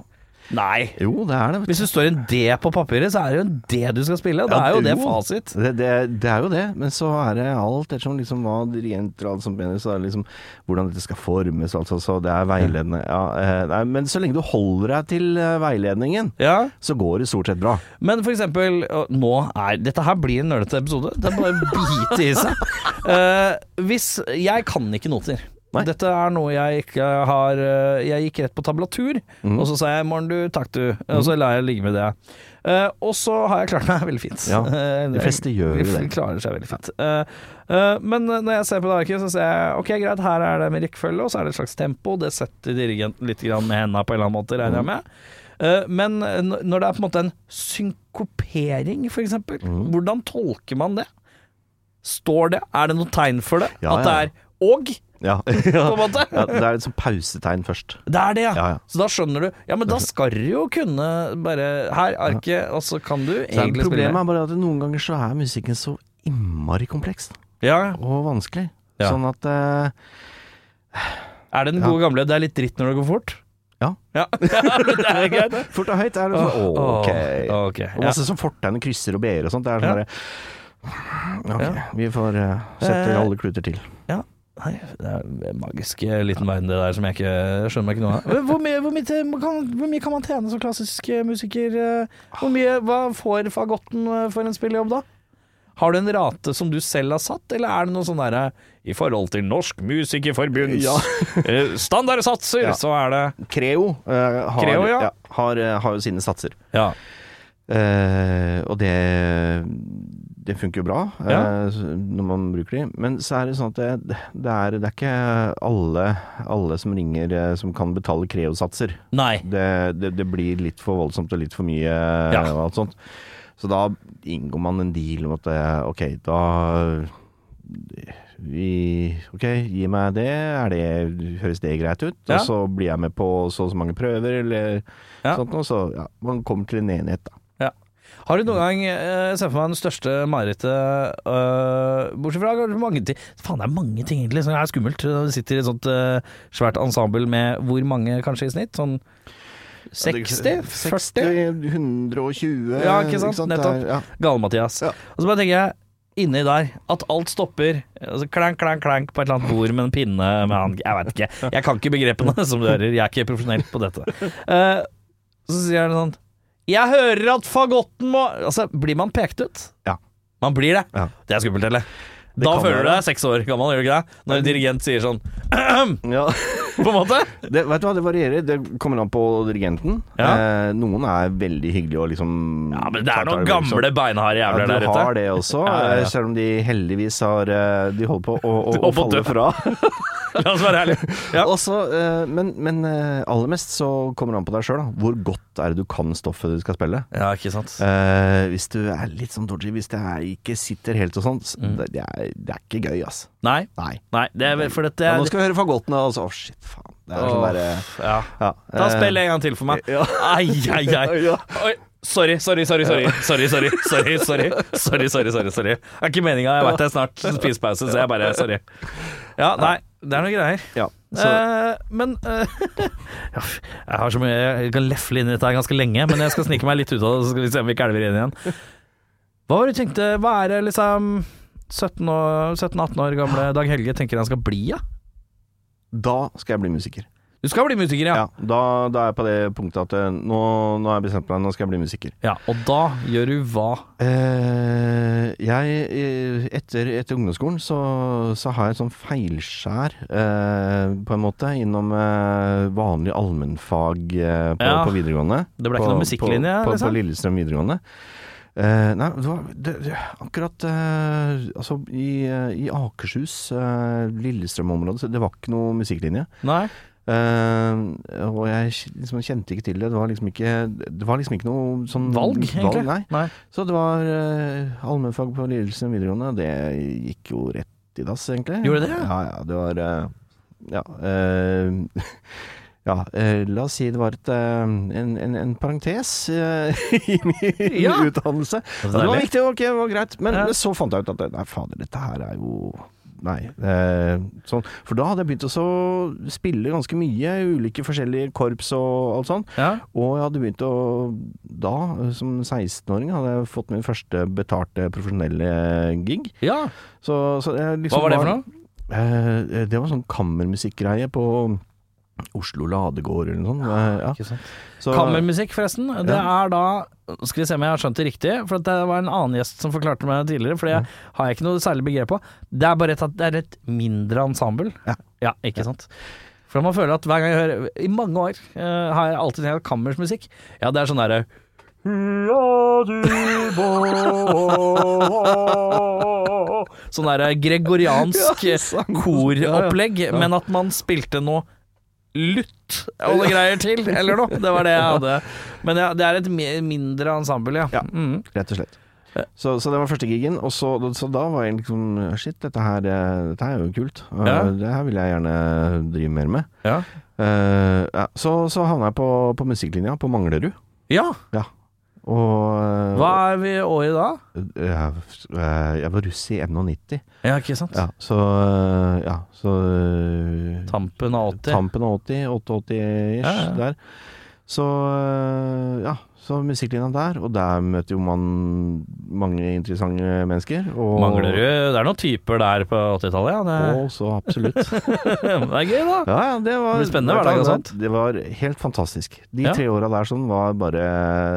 Speaker 2: Nei.
Speaker 3: Jo, det er det. vet du.
Speaker 2: Hvis du står en D på papiret, så er det jo en D du skal spille, og da er jo det fasit.
Speaker 3: Det, det, det er jo det, men så er det alt ettersom liksom hva dirigenter og alt som mener, så er det liksom hvordan dette skal formes, altså. Så det er veiledende. Ja, eh, nei, men så lenge du holder deg til eh, veiledningen,
Speaker 2: Ja.
Speaker 3: så går det stort sett bra.
Speaker 2: Men for eksempel og Nå er Dette her blir en nølete episode. Det er bare å bite i seg. Eh, hvis Jeg kan ikke noter.
Speaker 3: Nei.
Speaker 2: Dette er noe jeg ikke har eh, Jeg gikk rett på tablatur,
Speaker 3: Mhm.
Speaker 2: og så sa jeg 'morn, du. Takk, du'. Og så la jeg ligge med det. Eh, og så har jeg klart meg veldig fint.
Speaker 3: Ja,
Speaker 2: Eh,
Speaker 3: de fleste gjør jo
Speaker 2: de
Speaker 3: det.
Speaker 2: klarer seg veldig fint. Eh, eh, men når jeg ser på det arket, så ser jeg ok, greit, her er det med rekkefølge, og så er det et slags tempo. Det setter dirigenten litt grann med henda på en eller annen måte,
Speaker 3: Mhm.
Speaker 2: regner jeg med. Eh, men n- når det er på en måte en synkopering, for eksempel,
Speaker 3: Mm.
Speaker 2: hvordan tolker man det? Står det? Er det noe tegn for det?
Speaker 3: Ja,
Speaker 2: At det
Speaker 3: ja.
Speaker 2: er og,
Speaker 3: Ja.
Speaker 2: på en måte?
Speaker 3: ja, det er et sånt pausetegn først.
Speaker 2: Det er det, ja.
Speaker 3: Ja, ja.
Speaker 2: Så da skjønner du. Ja, men da skal du jo kunne bare Her, arket, og så kan du
Speaker 3: Så er
Speaker 2: egentlig
Speaker 3: problemet
Speaker 2: spille.
Speaker 3: er bare at noen ganger så er musikken så innmari kompleks
Speaker 2: Ja,
Speaker 3: og vanskelig.
Speaker 2: Ja.
Speaker 3: Sånn at eh,
Speaker 2: Er det den gode gamle 'det er litt dritt når det går fort'?
Speaker 3: Ja.
Speaker 2: Ja, ja men det er greit.
Speaker 3: Fort og høyt er det sånn Å, ok.
Speaker 2: Åh, ok,
Speaker 3: Og
Speaker 2: ja.
Speaker 3: masse sånn fortegn og krysser og b-er og sånt. Det er sånn derre Ok, vi får eh, sette
Speaker 2: Eh,
Speaker 3: alle kluter til.
Speaker 2: Ja. Nei, det er en magisk eh, liten verden det der som jeg ikke jeg skjønner meg ikke noe av. Men Hvor mye, hvor, mye, te- kan, hvor mye kan man tjene som klassisk eh, musiker? eh? Hvor mye, hva får fagotten eh, for en spillejobb da? Har du en rate som du selv har satt, eller er det noe sånn derre I forhold til Norsk Musikerforbunds
Speaker 3: Ja.
Speaker 2: eh, standardsatser,
Speaker 3: Ja.
Speaker 2: så er det
Speaker 3: Creo, eh, har,
Speaker 2: Creo, ja.
Speaker 3: har, eh, har jo sine satser.
Speaker 2: Ja.
Speaker 3: Eh, og det Det funker jo bra eh,
Speaker 2: Ja.
Speaker 3: s- når man bruker de. Men så er det sånn at det, det, er, det er ikke alle, alle som ringer eh, som kan betale Creo-satser.
Speaker 2: Nei.
Speaker 3: Det, det, det blir litt for voldsomt og litt for mye eh,
Speaker 2: Ja.
Speaker 3: og alt sånt. Så da inngår man en deal om at eh, ok, da vi, Ok, gi meg det. Er det høres det greit ut?
Speaker 2: Ja.
Speaker 3: Og så blir jeg med på så og så mange prøver, eller
Speaker 2: Ja.
Speaker 3: sånt noe. Så ja, man kommer til en enighet, da.
Speaker 2: Ja. Har du noen gang eh, sett for meg den største marerittet eh, Bortsett fra kanskje mange ting Faen, det er mange ting egentlig som er skummelt når du sitter i et sånt eh, svært ensemble med hvor mange kanskje i snitt? Sånn 60? 40?
Speaker 3: 60, 120
Speaker 2: Ja, ikke sant? Nettopp.
Speaker 3: Det er- ja.
Speaker 2: Gale-Mathias.
Speaker 3: Ja.
Speaker 2: Og så bare tenker jeg inni der at alt stopper. Altså, klank, klank, klank på et eller annet bord med en pinne med han Jeg veit ikke. Jeg kan ikke begrepene som du hører. Jeg er ikke profesjonell på dette. Eh, så sier han sånn Jeg hører at fagotten må Altså, blir man pekt ut?
Speaker 3: Ja.
Speaker 2: Man blir det.
Speaker 3: Ja.
Speaker 2: Det er skummelt, eller? Da
Speaker 3: kan
Speaker 2: føler du
Speaker 3: være.
Speaker 2: deg seks år gammel, gjør du ikke det? Når en dirigent sier sånn,
Speaker 3: Ja.
Speaker 2: på en måte.
Speaker 3: Det, vet du hva, det varierer. Det kommer an på dirigenten.
Speaker 2: Ja.
Speaker 3: Eh, noen er veldig hyggelige og liksom
Speaker 2: Ja, men det
Speaker 3: tar
Speaker 2: er noen
Speaker 3: tak i det, liksom.
Speaker 2: gamle, beinharde
Speaker 3: Ja,
Speaker 2: jævler
Speaker 3: du
Speaker 2: der ute.
Speaker 3: har det også,
Speaker 2: Ja, ja, ja.
Speaker 3: eh, selv om de heldigvis har eh, De holder på å, å, å
Speaker 2: holder på å
Speaker 3: falle
Speaker 2: dø.
Speaker 3: fra.
Speaker 2: La oss være ærlige. Ja.
Speaker 3: Også, eh, men men eh, aller mest så kommer det an på deg sjøl. Hvor godt er det du kan stoffet du skal spille?
Speaker 2: ja, ikke sant.
Speaker 3: Eh, hvis du er litt sånn dodgy, hvis det er, ikke sitter helt og sånn, så
Speaker 2: Mm.
Speaker 3: det, det, er, det er ikke gøy, ass.
Speaker 2: Nei.
Speaker 3: Nei.
Speaker 2: Nei, det er, for dette
Speaker 3: Ja,
Speaker 2: er
Speaker 3: nå skal vi høre fagotten, og så altså. Å, shit, faen. Det er sånn
Speaker 2: Åh,
Speaker 3: derre
Speaker 2: ja.
Speaker 3: ja,
Speaker 2: Ta
Speaker 3: eh,
Speaker 2: spill en gang til for meg. Ai, ai, ai.
Speaker 3: Ja.
Speaker 2: Oi. Sorry, sorry, sorry. Sorry, sorry, sorry. sorry, sorry, sorry, sorry, sorry, sorry. Det er ikke meninga. Jeg veit det er snart spisepause, så jeg bare Sorry. Ja, nei. Det er noe greier.
Speaker 3: Ja, så,
Speaker 2: Eh, men eh, ja, Jeg har så mye Jeg kan lefle inn i dette her ganske lenge, men jeg skal snike meg litt ut av det, så skal vi se om vi ikke elver inn igjen. Hva var det du tenkte Hva er det liksom 17-18 år, 17-18 år gamle Dag Helge tenker han skal bli, ja?
Speaker 3: da skal jeg bli musiker.
Speaker 2: Du skal bli musiker, ja.
Speaker 3: Ja, da, da er jeg på det punktet at eh, nå, nå har jeg bestemt meg, nå skal jeg bli musiker.
Speaker 2: ja. Og da gjør du hva?
Speaker 3: Eh, jeg, eh, etter, etter ungdomsskolen så, så har jeg et sånn feilskjær, eh, på en måte, innom eh, vanlig allmennfag eh, på,
Speaker 2: Ja.
Speaker 3: på videregående.
Speaker 2: Det ble ikke
Speaker 3: på,
Speaker 2: noen musikklinje,
Speaker 3: På, på,
Speaker 2: liksom?
Speaker 3: på Lillestrøm videregående. Eh, nei, det var det, det, akkurat eh, Altså, i, eh, i Akershus, eh, Lillestrøm-området, så det var ikke noe musikklinje.
Speaker 2: Nei?
Speaker 3: Eh, og jeg kj- liksom kjente ikke til det. Det var liksom ikke, det var liksom ikke noe sånn
Speaker 2: Valg, egentlig?
Speaker 3: Nei. Så det var eh, allmennfag på Lillestrøm videregående. Det gikk jo rett i dass, egentlig.
Speaker 2: Gjorde det?
Speaker 3: Ja, ja. Det var eh, Ja. eh, ja, eh, la oss si det var et, eh, en, en, en parentes eh, i min
Speaker 2: Ja.
Speaker 3: utdannelse. Ja, det var
Speaker 2: deilig.
Speaker 3: viktig, ok, det var greit. Men
Speaker 2: Ja.
Speaker 3: så fant jeg ut at nei, fader, dette her er jo Nei. Eh, sånn. For da hadde jeg begynt også å spille ganske mye, ulike forskjellige korps og alt sånn. sånt.
Speaker 2: Ja.
Speaker 3: Og jeg hadde begynt å Da, som 16-åring, hadde jeg fått min første betalte profesjonelle gig.
Speaker 2: ja.
Speaker 3: Så, så jeg liksom
Speaker 2: Hva var det for noe?
Speaker 3: Eh, det var sånn kammermusikkgreie på Oslo Ladegård eller noe
Speaker 2: Ah,
Speaker 3: sånt. eh, Ja.
Speaker 2: Ikke sant?
Speaker 3: Så,
Speaker 2: Kammermusikk, forresten. Det
Speaker 3: Ja.
Speaker 2: er da Skal vi se om jeg har skjønt det riktig, for at det var en annen gjest som forklarte meg det tidligere, for det har jeg ikke noe særlig begrep på. Det er bare et, at det er et mindre ensemble.
Speaker 3: Ja.
Speaker 2: ikke sant. For man føler at hver gang jeg hører I mange år eh, har jeg alltid tenkt at kammersmusikk Ja, det er sånn derre Sånn derre gregoriansk eh,
Speaker 3: Ja, sang.
Speaker 2: koropplegg, men at man spilte noe lutt og noe greier til, eller noe. Det var det jeg hadde. Men ja, det er et mi- mindre ensemble, ja.
Speaker 3: Ja.
Speaker 2: Mm.
Speaker 3: Rett og slett. Så, så det var første gigen, og så, så da var jeg liksom Shit, dette her, eh, dette her er jo kult. Eh,
Speaker 2: Ja.
Speaker 3: Det her vil jeg gjerne drive mer med.
Speaker 2: ja.
Speaker 3: Eh, ja, så, så havna jeg på, på musikklinja på Manglerud.
Speaker 2: ja.
Speaker 3: Ja. Og eh,
Speaker 2: Hva er vi i året da?
Speaker 3: eh, Jeg, eh, jeg var russ i 91.
Speaker 2: Ja, ikke sant?
Speaker 3: Ja, så eh, Ja, så eh,
Speaker 2: Tampen av 80.
Speaker 3: Tampen av 80, 88-ish
Speaker 2: Ja, ja.
Speaker 3: der. Så øh, ja, så musikklinja der, og der møter jo man mange interessante mennesker. Og,
Speaker 2: Mangler jo Det er noen typer der på 80-tallet, ja. Det,
Speaker 3: Og så absolutt.
Speaker 2: det er gøy, da.
Speaker 3: Ja, ja, det var
Speaker 2: Det blir spennende hverdag og sånt.
Speaker 3: Det var helt fantastisk. De
Speaker 2: Ja.
Speaker 3: tre åra der sånn var bare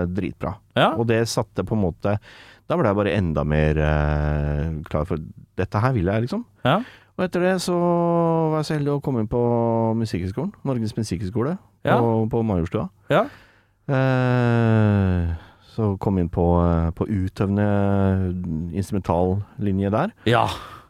Speaker 3: dritbra.
Speaker 2: Ja.
Speaker 3: Og det satte på en måte Da ble jeg bare enda mer øh, klar for Dette her vil jeg, liksom.
Speaker 2: ja.
Speaker 3: Og etter det så var jeg så heldig å komme inn på Musikkhøgskolen. Norges musikkhøgskole
Speaker 2: Ja.
Speaker 3: på, på Majorstua.
Speaker 2: ja.
Speaker 3: Eh, Så kom jeg inn på, eh, på utøvende instrumentallinje der.
Speaker 2: Ja,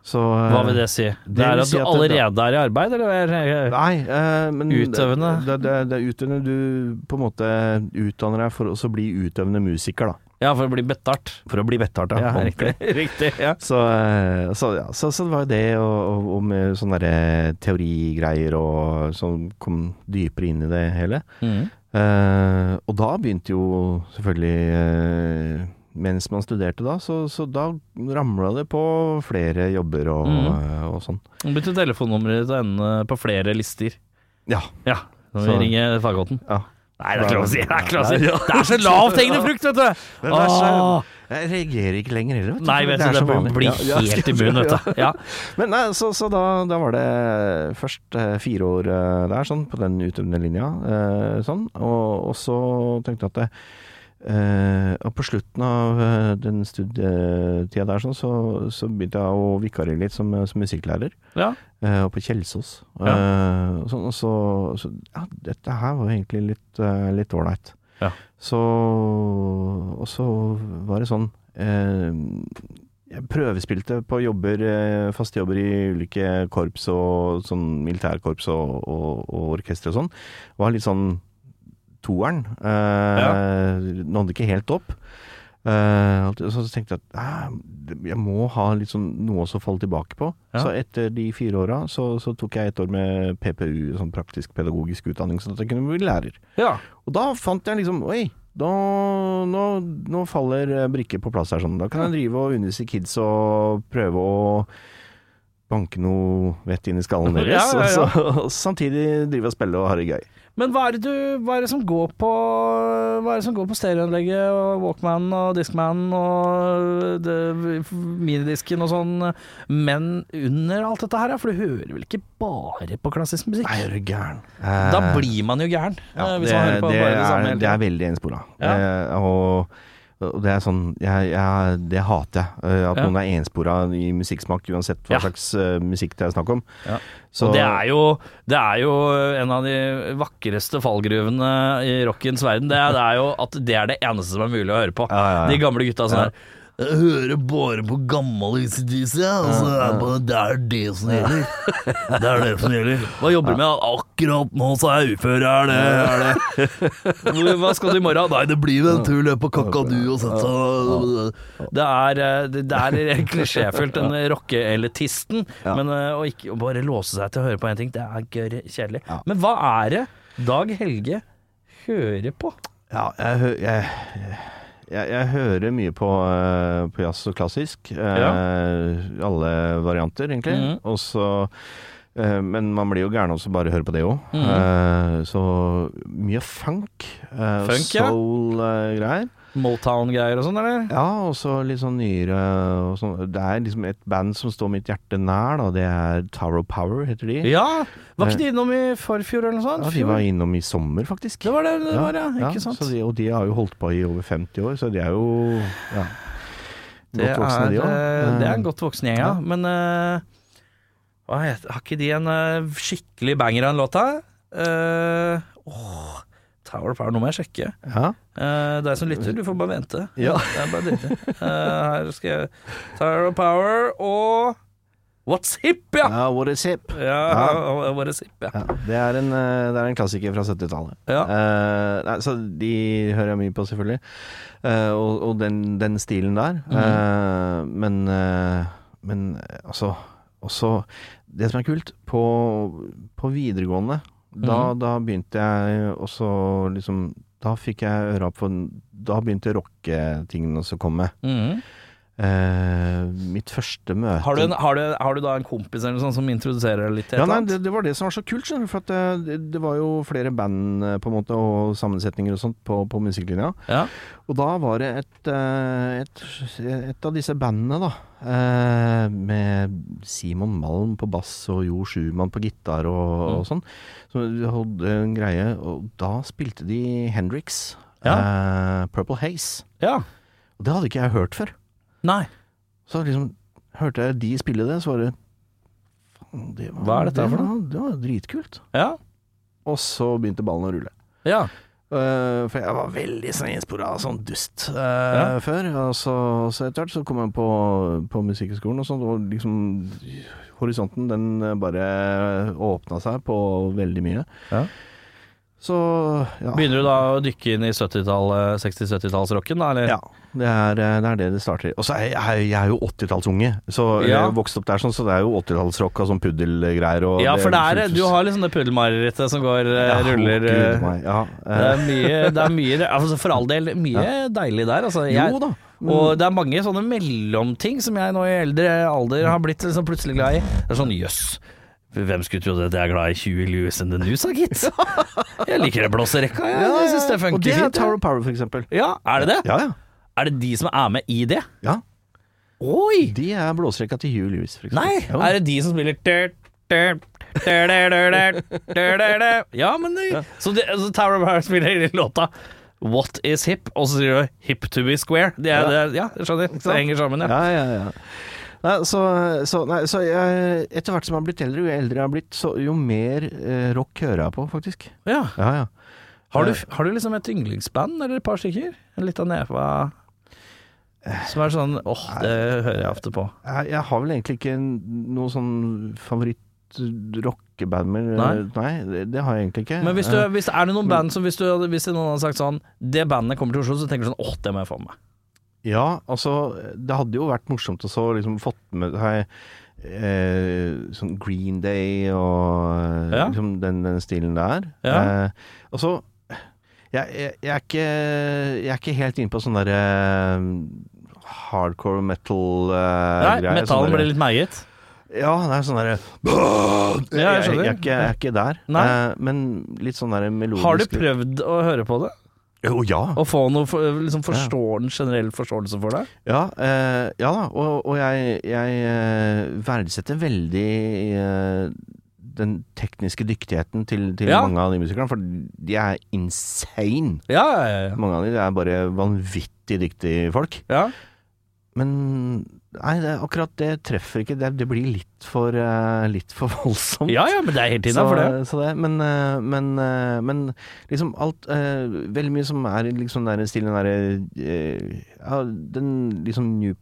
Speaker 3: Så, eh,
Speaker 2: hva vil det si? Det er
Speaker 3: vil
Speaker 2: at
Speaker 3: si
Speaker 2: du
Speaker 3: at det-
Speaker 2: allerede er i arbeid, eller? hva er-
Speaker 3: Nei, eh, men
Speaker 2: Utøvende?
Speaker 3: Det, det, det er utøvende du på en måte utdanner deg for å også bli utøvende musiker, da.
Speaker 2: Ja, for å bli betart.
Speaker 3: For å bli vettarta.
Speaker 2: Ja, riktig. riktig ja.
Speaker 3: Så, eh, så, ja, så, så det var jo det, og, og, og med sånne der eh, teorigreier og som kom dypere inn i det hele.
Speaker 2: Mm.
Speaker 3: Eh, og da begynte jo selvfølgelig eh, Mens man studerte da, så, så da ramla det på flere jobber og,
Speaker 2: Mm.
Speaker 3: eh, og sånn.
Speaker 2: Bytte telefonnummeret til å ende på flere lister.
Speaker 3: Ja.
Speaker 2: Ja, når vi
Speaker 3: Så-
Speaker 2: ringer Fagåten.
Speaker 3: ja.
Speaker 2: Nei, det er ikke lov å si! Det er, ikke lov å si. Det er så lavt hengende frukt, vet du!
Speaker 3: Men det er så-
Speaker 2: Åh.
Speaker 3: Jeg reagerer ikke lenger heller, vet du.
Speaker 2: Ah. Nei,
Speaker 3: for
Speaker 2: vet
Speaker 3: er
Speaker 2: du,
Speaker 3: så
Speaker 2: det
Speaker 3: vanlig.
Speaker 2: blir
Speaker 3: Ja, ja.
Speaker 2: helt i munnen, vet du. Ja.
Speaker 3: Men nei, så, så da, da var det først eh, fire år eh, der, sånn, på den utøvende linja, eh, sånn. Og, og så tenkte jeg at det, eh, og på slutten av eh, den studietida der, sånn, så, så begynte jeg å vikare litt som, eh, som musikklærer.
Speaker 2: ja.
Speaker 3: eh, og på Kjelsås. Eh, og sånn, og så, så Ja, dette her var jo egentlig litt eh, litt ålreit.
Speaker 2: Ja.
Speaker 3: Så Og så var det sånn eh, Jeg prøvespilte på jobber, eh, faste jobber i ulike korps og sånn militærkorps og, og, og orkester og sånn. Var litt sånn toeren. Eh, Nådde ikke helt opp. Eh, alt- så tenkte jeg at "Ah, jeg må ha litt sånn noe også å falle tilbake på.
Speaker 2: Ja.
Speaker 3: Så etter de fire åra så, så tok jeg et år med PPU, sånn praktisk pedagogisk utdanning, sånn at jeg kunne bli lærer.
Speaker 2: ja.
Speaker 3: Og da fant jeg liksom Oi, da, nå, nå faller eh, brikker på plass her sånn. Da kan jeg drive og undervise kids og prøve å banke noe vett inn i skallen deres.
Speaker 2: Ja, ja, ja.
Speaker 3: Og så, og samtidig drive og spille og ha det gøy.
Speaker 2: Men hva er, det du, hva er det som går på Hva er det som går på stereoanlegget og Walkman og Discman og det, minidisken og sånn, men under alt dette her? ja? For du hører vel ikke bare på klassisk musikk?
Speaker 3: Nei, er du gæren.
Speaker 2: Da
Speaker 3: Eh,
Speaker 2: blir man jo gæren, eh,
Speaker 3: Ja,
Speaker 2: hvis man hører på bare det samme hele
Speaker 3: er, det er
Speaker 2: tiden.
Speaker 3: veldig enspora.
Speaker 2: Ja.
Speaker 3: Eh, og, og det er sånn jeg, jeg, Det hater jeg. eh, At
Speaker 2: Ja.
Speaker 3: noen er enspora i musikksmak, uansett hva
Speaker 2: Ja.
Speaker 3: slags eh, musikk det er snakk om.
Speaker 2: Ja.
Speaker 3: Så,
Speaker 2: Og det er, jo, det er jo en av de vakreste fallgruvene i rockens verden. Det er, det er jo at det er det eneste som er mulig å høre på.
Speaker 3: Ja, ja, ja.
Speaker 2: De gamle gutta sånn her. Jeg hører bare på gammel ACDC, altså. Det er det som gjelder. Det er det som gjelder. Hva jobber du med? Akkurat nå så er jeg ufør, er det, er det. Hvor- Hva skal du i morgen? Nei, det blir vel en tur løp på Kakadu og sånt. Så. Det er, eh, det det er klisjéfullt, den rockeelitisten. Men eh, å ikke å bare låse seg til å høre på én ting, det er gørr kjedelig. Men hva er det Dag Helge hører på?
Speaker 3: Ja, jeg, hø- jeg, jeg, jeg hører mye på, eh, på jazz og klassisk. eh, Alle varianter, egentlig.
Speaker 2: Mhm.
Speaker 3: Og så eh, men man blir jo gæren også bare hører på det òg.
Speaker 2: Mhm.
Speaker 3: så mye funk. eh,
Speaker 2: Funk, ja.
Speaker 3: Soul-greier.
Speaker 2: Motown-greier og sånn, eller?
Speaker 3: Ja, og så litt sånn nyere og sånn. Det er liksom et band som står mitt hjerte nær, da. Det er Tower of Power, heter de.
Speaker 2: Ja! Var ikke de innom i forfjor eller noe sånt?
Speaker 3: Ja, de var innom i sommer, faktisk.
Speaker 2: Det var det det var, ja. Ikke sant?
Speaker 3: Så de, og de har jo holdt på i over 50 år, så de er jo ja,
Speaker 2: Det
Speaker 3: godt voksne,
Speaker 2: er,
Speaker 3: de
Speaker 2: eh,
Speaker 3: òg.
Speaker 2: Det er en godt voksen gjeng, ja. Men eh, hva heter, har ikke de en eh, skikkelig banger av en låt, da? Eh, åh, Tower of Power, nå må jeg sjekke.
Speaker 3: Ja.
Speaker 2: Uh, deg som lytter, du får bare vente.
Speaker 3: Ja.
Speaker 2: Det er bare dritt. Eh, her skal jeg Tower of Power og What's Hip, ja!
Speaker 3: ja, what is hip?
Speaker 2: Ja, og What is Hip, ja.
Speaker 3: Ja, det, er en, eh, det er en klassiker fra 70-tallet.
Speaker 2: Ja.
Speaker 3: Eh, nei, så de hører jeg mye på, selvfølgelig. Eh, og og den, den stilen der.
Speaker 2: Mhm.
Speaker 3: Eh, men, eh, men eh, altså Også det som er kult, på, på videregående
Speaker 2: Mhm.
Speaker 3: da, da begynte jeg også liksom Da fikk jeg øra opp for Da begynte rocketingene også å komme.
Speaker 2: Mhm.
Speaker 3: Eh, mitt første møte
Speaker 2: Har du, en, har, du, har du da en kompis eller noe sånt som introduserer deg litt til et
Speaker 3: Ja, nei,
Speaker 2: eller
Speaker 3: det, det var det som var så kult, skjønner du. For at eh, det, det var jo flere band eh, på en måte, og sammensetninger og sånt på, på musikklinja.
Speaker 2: Ja.
Speaker 3: Og da var det et, eh, et, et av disse bandene, da. eh, Med Simon Malm på bass og Jo Schumann på gitar og,
Speaker 2: Mm.
Speaker 3: og sånn. Så de hadde en greie, og da spilte de Hendrix. eh, Purple Haze.
Speaker 2: Ja.
Speaker 3: Og det hadde ikke jeg hørt før.
Speaker 2: Nei.
Speaker 3: Så liksom hørte jeg de spille det, så var det Faen, det var,
Speaker 2: Hva er dette
Speaker 3: det
Speaker 2: for noe?
Speaker 3: var, det var dritkult.
Speaker 2: Ja.
Speaker 3: Og så begynte ballen å rulle.
Speaker 2: Ja.
Speaker 3: Eh, for jeg var veldig sånn innspora av sånn dust eh, før. Og så, så etter hvert så kom jeg på, på Musikkhøgskolen, og sånn, og liksom Horisonten den eh, bare åpna seg på veldig mye.
Speaker 2: Ja.
Speaker 3: Så ja.
Speaker 2: Begynner du da å dykke inn i 70-tallet, 60-70-tallsrocken, da, eller?
Speaker 3: Ja, det er, eh, det er det det starter. Og så er jeg, jeg er jo 80-tallsunge, så jeg
Speaker 2: Ja.
Speaker 3: har vokst opp der sånn, så det er jo 80-tallsrock og sånn puddelgreier og
Speaker 2: Ja, for det er,
Speaker 3: fullt-
Speaker 2: du har liksom det puddelmarerittet som går, eh,
Speaker 3: Ja,
Speaker 2: ruller
Speaker 3: Gud,
Speaker 2: eh,
Speaker 3: meg, ja.
Speaker 2: det
Speaker 3: Eh,
Speaker 2: er mye, det er mye altså For all del, mye deilig der. Altså, jeg,
Speaker 3: Eh, jo da.
Speaker 2: og det er mange sånne mellomting som jeg nå i eldre alder har blitt liksom plutselig glad i. Det er sånn jøss. Hvem skulle trodd at jeg er glad i 20 Louis and the News, da, gitt? Jeg liker det blåserekka, jeg. Jeg syns det
Speaker 3: og det
Speaker 2: funker
Speaker 3: er
Speaker 2: fint.
Speaker 3: Tower
Speaker 2: jeg.
Speaker 3: of Power, for eksempel.
Speaker 2: Ja, er det det?
Speaker 3: Ja, ja.
Speaker 2: Er det de som er med i det?
Speaker 3: ja.
Speaker 2: Oi!
Speaker 3: De er blåstrekka til Hugh Lewis, for eksempel.
Speaker 2: Nei,
Speaker 3: Jo.
Speaker 2: er det de som spiller dør, dør, dør, dør, dør, dør, dør, dør, dør? Ja, men det, så, det, så Tower of Power spiller i låta What is hip? Og så sier du hip to be square. Det er, det er, ja, jeg skjønner. Det henger sammen, ja.
Speaker 3: Ja, ja, ja. Nei, så, så, nei, så jeg, etter hvert som jeg har blitt eldre, jo eldre jeg har blitt, så jo mer eh, rock hører jeg på, faktisk.
Speaker 2: ja.
Speaker 3: Ja, ja.
Speaker 2: Har, du, har du liksom et yndlingsband eller et par stykker? En lita neve som er sånn åh, det hører jeg ofte på.
Speaker 3: Jeg, jeg har vel egentlig ikke noe sånn favoritt-rockeband med
Speaker 2: Nei.
Speaker 3: nei det, det har jeg egentlig ikke.
Speaker 2: Men hvis, du,
Speaker 3: Eh,
Speaker 2: hvis er det noen band som hvis, du, hadde- hvis noen hadde sagt sånn Det bandet kommer til Oslo, så tenker du sånn åh, det må jeg få med meg.
Speaker 3: Ja, altså Det hadde jo vært morsomt å så liksom fått med seg eh, sånn Green Day og eh,
Speaker 2: Ja.
Speaker 3: liksom den, den stilen der.
Speaker 2: Ja.
Speaker 3: Eh, og så jeg, jeg, jeg, er ikke, jeg er ikke helt inne på sånn derre eh, hardcore eh, metal-greier.
Speaker 2: Nei, metallen blir litt meiet.
Speaker 3: sånn Ja, det er sånn derre jeg, jeg,
Speaker 2: Ja, jeg
Speaker 3: jeg,
Speaker 2: skjønner.
Speaker 3: er ikke- jeg er ikke der.
Speaker 2: Nei.
Speaker 3: Eh, men litt sånn derre melodisk
Speaker 2: Har du prøvd å høre på det?
Speaker 3: Jo, ja.
Speaker 2: Å få noe for, liksom forstår, en generell forståelse for det?
Speaker 3: Ja, eh, ja da, og, og jeg, jeg eh, verdsetter veldig eh, den tekniske dyktigheten til, til
Speaker 2: Ja.
Speaker 3: mange av de musikerne, for de er insane.
Speaker 2: Ja, ja, ja.
Speaker 3: Mange av de er bare vanvittig dyktige folk.
Speaker 2: ja.
Speaker 3: Men nei, det, akkurat det treffer ikke. Det, det blir litt for, eh, litt for voldsomt.
Speaker 2: ja, ja, men det er helt
Speaker 3: Så,
Speaker 2: innafor, det.
Speaker 3: så det, men, eh, men, eh, men liksom alt eh, Veldig mye som er i liksom den der stilen derre eh, ja, Den liksom new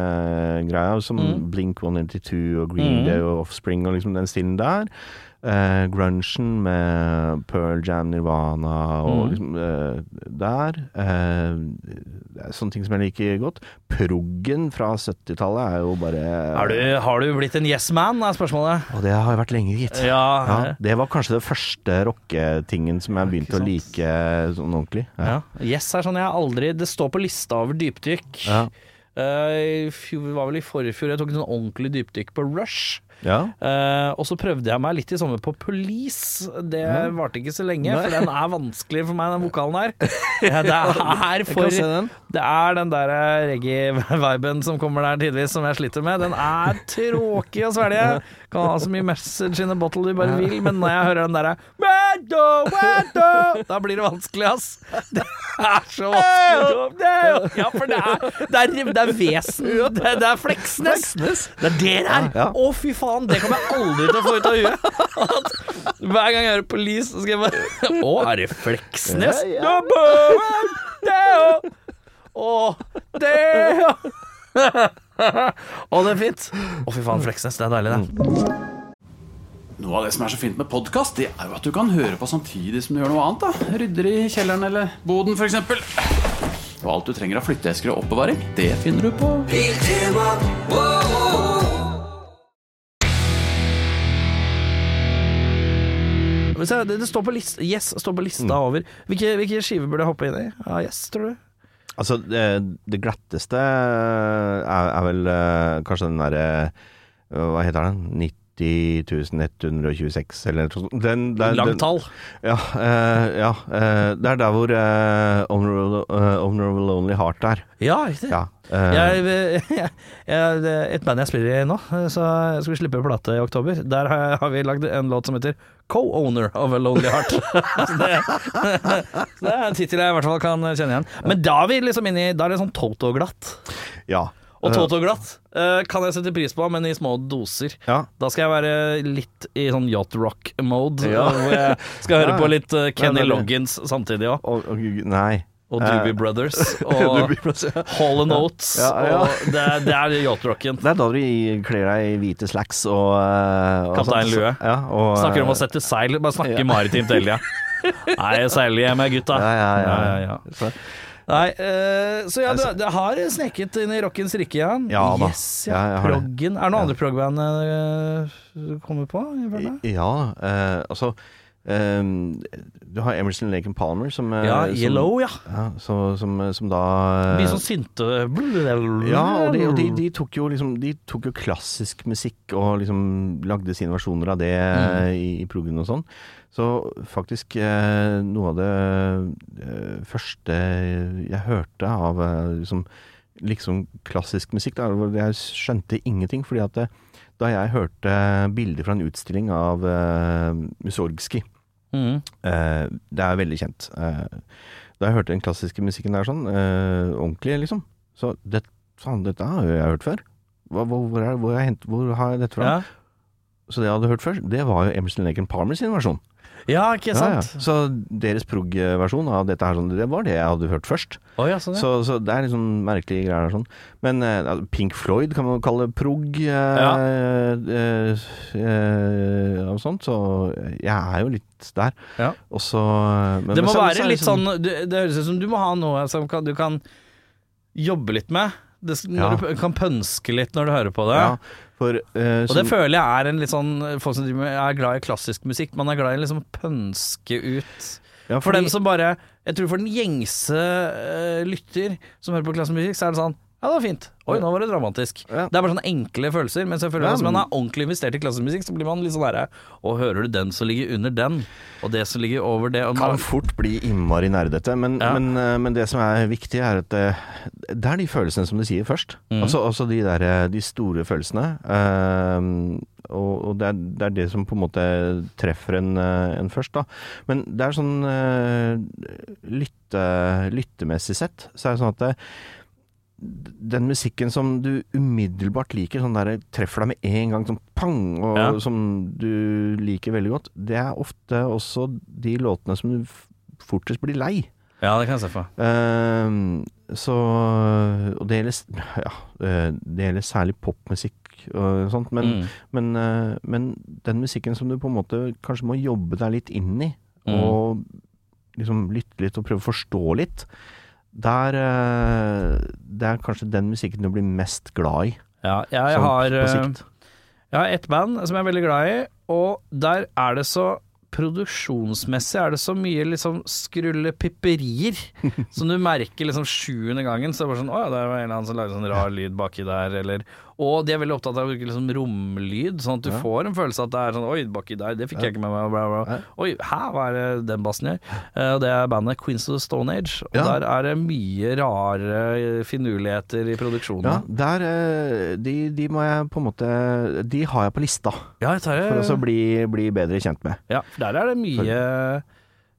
Speaker 3: punk-greia som
Speaker 2: Mm.
Speaker 3: Blink 182 og Green
Speaker 2: Mm.
Speaker 3: Day og Offspring og liksom den stilen der. Eh, grunchen med Pearl Jam, Nirvana
Speaker 2: Mm.
Speaker 3: og liksom eh, der. Eh, det er sånne ting som jeg liker godt. Proggen fra 70-tallet er jo bare
Speaker 2: Har du, har du blitt en yes man, er spørsmålet.
Speaker 3: Og det har jo vært lenge, gitt.
Speaker 2: Ja.
Speaker 3: Ja, det var kanskje det første rocketingen som jeg begynte å like sånn ordentlig.
Speaker 2: ja. Yes er sånn jeg aldri Det står på lista over dypdykk.
Speaker 3: Ja.
Speaker 2: Eh, i fjor- det var vel i forfjor jeg tok en sånn ordentlig dypdykk på Rush.
Speaker 3: Ja.
Speaker 2: Eh, og så prøvde jeg meg litt i sommer på Police. Det varte ikke så lenge, for den er vanskelig for meg, den vokalen her. Ja, det er
Speaker 3: Jeg
Speaker 2: for
Speaker 3: kan se den.
Speaker 2: Det er den der eh, reggae-viben som kommer der tidvis, som jeg sliter med. Den er tråkig å svelge. Kan ha så mye message in a bottle du bare vil, men når jeg hører den derre «Mando, mando», Da blir det vanskelig, ass. Det er så
Speaker 3: oh,
Speaker 2: vanskelig. Ja, for det er, det er, det er vesen. Det, det er Fleksnes. Det er det der!
Speaker 3: Ja.
Speaker 2: Å, fy faen! Det kommer jeg aldri til å få ut av huet. At Hver gang jeg hører Police, så skal jeg bare Å, er det Fleksnes?
Speaker 3: Ja,
Speaker 2: Ja, boom, deo. Å, deo. Å, det er fint. Å, fy faen, Fleksnes. Det er deilig, det.
Speaker 4: Noe av det som er så fint med podkast, det er jo at du kan høre på samtidig som du gjør noe annet. da Rydder i kjelleren eller boden, f.eks. Og alt du trenger av flytteesker og oppbevaring, det finner du på
Speaker 2: Men se, det, det står på lista Yes står på
Speaker 3: Mm.
Speaker 2: lista over. Hvilke, hvilke skiver burde jeg hoppe inn i? Ja, Yes, tror du?
Speaker 3: Altså, det, det glatteste er, er vel eh, kanskje den derre eh, Hva heter den? 90.126 eller noe sånt. Den- den- den-
Speaker 2: Langt tall.
Speaker 3: Ja. eh, ja eh, det er der hvor eh, Honorable, eh, Honorable Lonely Heart er.
Speaker 2: Ja, riktig.
Speaker 3: Ja. eh,
Speaker 2: Jeg, jeg, jeg, det er et band jeg spiller i nå, så jeg skal slippe plate i oktober. Der har, jeg, har vi lagd en låt som heter Co-owner of a Lonely Heart. så det, så det er en tittel jeg i hvert fall kan kjenne igjen. Men da er vi liksom inne i Da er det sånn Toto-glatt.
Speaker 3: ja.
Speaker 2: Og Toto-glatt eh, kan jeg sette pris på, men i små doser.
Speaker 3: Eh, Ja.
Speaker 2: Da skal jeg være litt i sånn yacht rock-mode,
Speaker 3: Ja.
Speaker 2: hvor jeg skal høre
Speaker 3: Ja.
Speaker 2: på litt eh, Kenny
Speaker 3: Ja, det er
Speaker 2: Loggins samtidig òg.
Speaker 3: Og, og, nei.
Speaker 2: Og Doobie
Speaker 3: Eh,
Speaker 2: Brothers. Og Hall and Oats.
Speaker 3: Ja, ja.
Speaker 2: Og det, er- det er yacht-rocken.
Speaker 3: Det er da du i- kler deg i hvite slacks og, eh, og
Speaker 2: Kaptein
Speaker 3: sånt.
Speaker 2: Lue.
Speaker 3: Ja, og,
Speaker 2: Snakker om å sette seil, bare snakke maritimt hele tida. Nei, jeg seiler hjem, jeg, gutta.
Speaker 3: Ja, ja, ja.
Speaker 2: ja. Nei, eh, så ja, du, det har sneket inn i rockens rike igjen.
Speaker 3: Ja da.
Speaker 2: Yes, ja.
Speaker 3: Ja, jeg har det.
Speaker 2: Proggen. Er det noen andre prog-band eh, du kommer på? i verden?
Speaker 3: Ja, eh, altså eh, Du har Emerson Laken Palmer som eh,
Speaker 2: Ja,
Speaker 3: som-
Speaker 2: Yellow, ja.
Speaker 3: Ja, så, som, som da eh,
Speaker 2: Mye sånn synte
Speaker 3: ja, og, de, og
Speaker 2: Mm.
Speaker 3: de, de tok jo liksom De tok jo klassisk musikk og liksom lagde sine versjoner av det eh, i, i proggen og sånn. Så faktisk eh, noe av det eh, første jeg hørte av eh, liksom, liksom klassisk musikk, da, hvor jeg skjønte ingenting. Fordi at eh, da jeg hørte bilder fra en utstilling av eh, Mussorgskij
Speaker 2: Mm.
Speaker 3: Eh, det er veldig kjent. Eh, da jeg hørte den klassiske musikken der sånn, eh, ordentlig liksom, så det, faen, dette har jo jeg hørt før. Hva, hvor, hvor, er, hvor, har jeg hent, hvor har jeg dette fra?
Speaker 2: Ja.
Speaker 3: Så det jeg hadde hørt før, det var jo Emerson Laken Palmer sin versjon.
Speaker 2: ja, ikke
Speaker 3: Ja, ja.
Speaker 2: sant?
Speaker 3: Så deres prog-versjon av dette her, sånn, det var det jeg hadde hørt først.
Speaker 2: Å, ja, sånn, ja.
Speaker 3: Så, så det er liksom merkelige greier der sånn. Men eh, altså, Pink Floyd kan man jo kalle prog eh,
Speaker 2: Ja.
Speaker 3: eh, eh, og sånt, så jeg er jo litt der.
Speaker 2: Ja.
Speaker 3: Og så men-
Speaker 2: det
Speaker 3: men
Speaker 2: må
Speaker 3: så- så
Speaker 2: være
Speaker 3: er
Speaker 2: litt
Speaker 3: liksom-
Speaker 2: sånn Det, det høres ut som du må ha noe som kan, du kan jobbe litt med. Det,
Speaker 3: Ja.
Speaker 2: når du p- kan pønske litt når du hører på det.
Speaker 3: Ja, for eh,
Speaker 2: sånn- Og
Speaker 3: som,
Speaker 2: det føler jeg er en litt sånn Folk som driver med- er glad i klassisk musikk, man er glad i liksom å pønske ut.
Speaker 3: ja,
Speaker 2: For
Speaker 3: fordi-
Speaker 2: dem som bare Jeg tror for den gjengse eh, lytter som hører på klassisk musikk, så er det sånn ja, det var fint. Oi, nå var det dramatisk.
Speaker 3: Ja.
Speaker 2: Det er bare sånne enkle følelser. Men selvfølgelig,
Speaker 3: Ja,
Speaker 2: hvis man
Speaker 3: men-
Speaker 2: er ordentlig investert i klassisk musikk, så blir man litt sånn derre Og hører du den som ligger under den, og det som ligger over det og
Speaker 3: kan
Speaker 2: man-
Speaker 3: fort bli innmari nerdete, men,
Speaker 2: Ja.
Speaker 3: men, eh, men det som er viktig, er at eh, det er de følelsene som du sier først.
Speaker 2: Mm.
Speaker 3: Altså, altså de, der, eh, de store følelsene. eh, og og det, er, det er det som på en måte treffer en, eh, en først, da. Men det er sånn eh, lytte, lyttemessig sett, så er det sånn at eh, den musikken som du umiddelbart liker, sånn der treffer deg med en gang, sånn pang, og
Speaker 2: Ja.
Speaker 3: som du liker veldig godt, det er ofte også de låtene som du f- fortest blir lei.
Speaker 2: Ja, det kan jeg se for meg.
Speaker 3: Ehm, så Og det gjelder, s- ja, eh, det gjelder særlig popmusikk og sånt, men,
Speaker 2: Mm.
Speaker 3: men, eh, men den musikken som du på en måte kanskje må jobbe deg litt inn i,
Speaker 2: Mm.
Speaker 3: og liksom lytte litt og prøve å forstå litt, der eh, Det er kanskje den musikken du blir mest glad i.
Speaker 2: Ja, jeg
Speaker 3: sånn
Speaker 2: har
Speaker 3: på
Speaker 2: eh,
Speaker 3: sikt.
Speaker 2: Jeg har ett band som jeg er veldig glad i, og der er det så Produksjonsmessig er det så mye liksom skrullepipperier som du merker liksom sjuende gangen. Så det er bare sånn Å ja, der var en eller annen som lagde sånn rar lyd baki der, eller Og de er veldig opptatt av å bruke liksom romlyd, sånn at du
Speaker 3: Ja.
Speaker 2: får en følelse at det er sånn Oi, baki der, det fikk jeg ikke med meg. Bla, bla.
Speaker 3: Nei.
Speaker 2: Oi, hæ, hva er det den bassen gjør? Eh, Og det er bandet Queens of the Stone Age. Og
Speaker 3: Ja.
Speaker 2: der er det mye rare finurligheter i
Speaker 3: Ja,
Speaker 2: produksjonen.
Speaker 3: der eh, de, de må jeg på en måte De har jeg på lista,
Speaker 2: Ja, jeg tar det.
Speaker 3: for altså også å bli, bli bedre kjent med.
Speaker 2: Ja, for der er det mye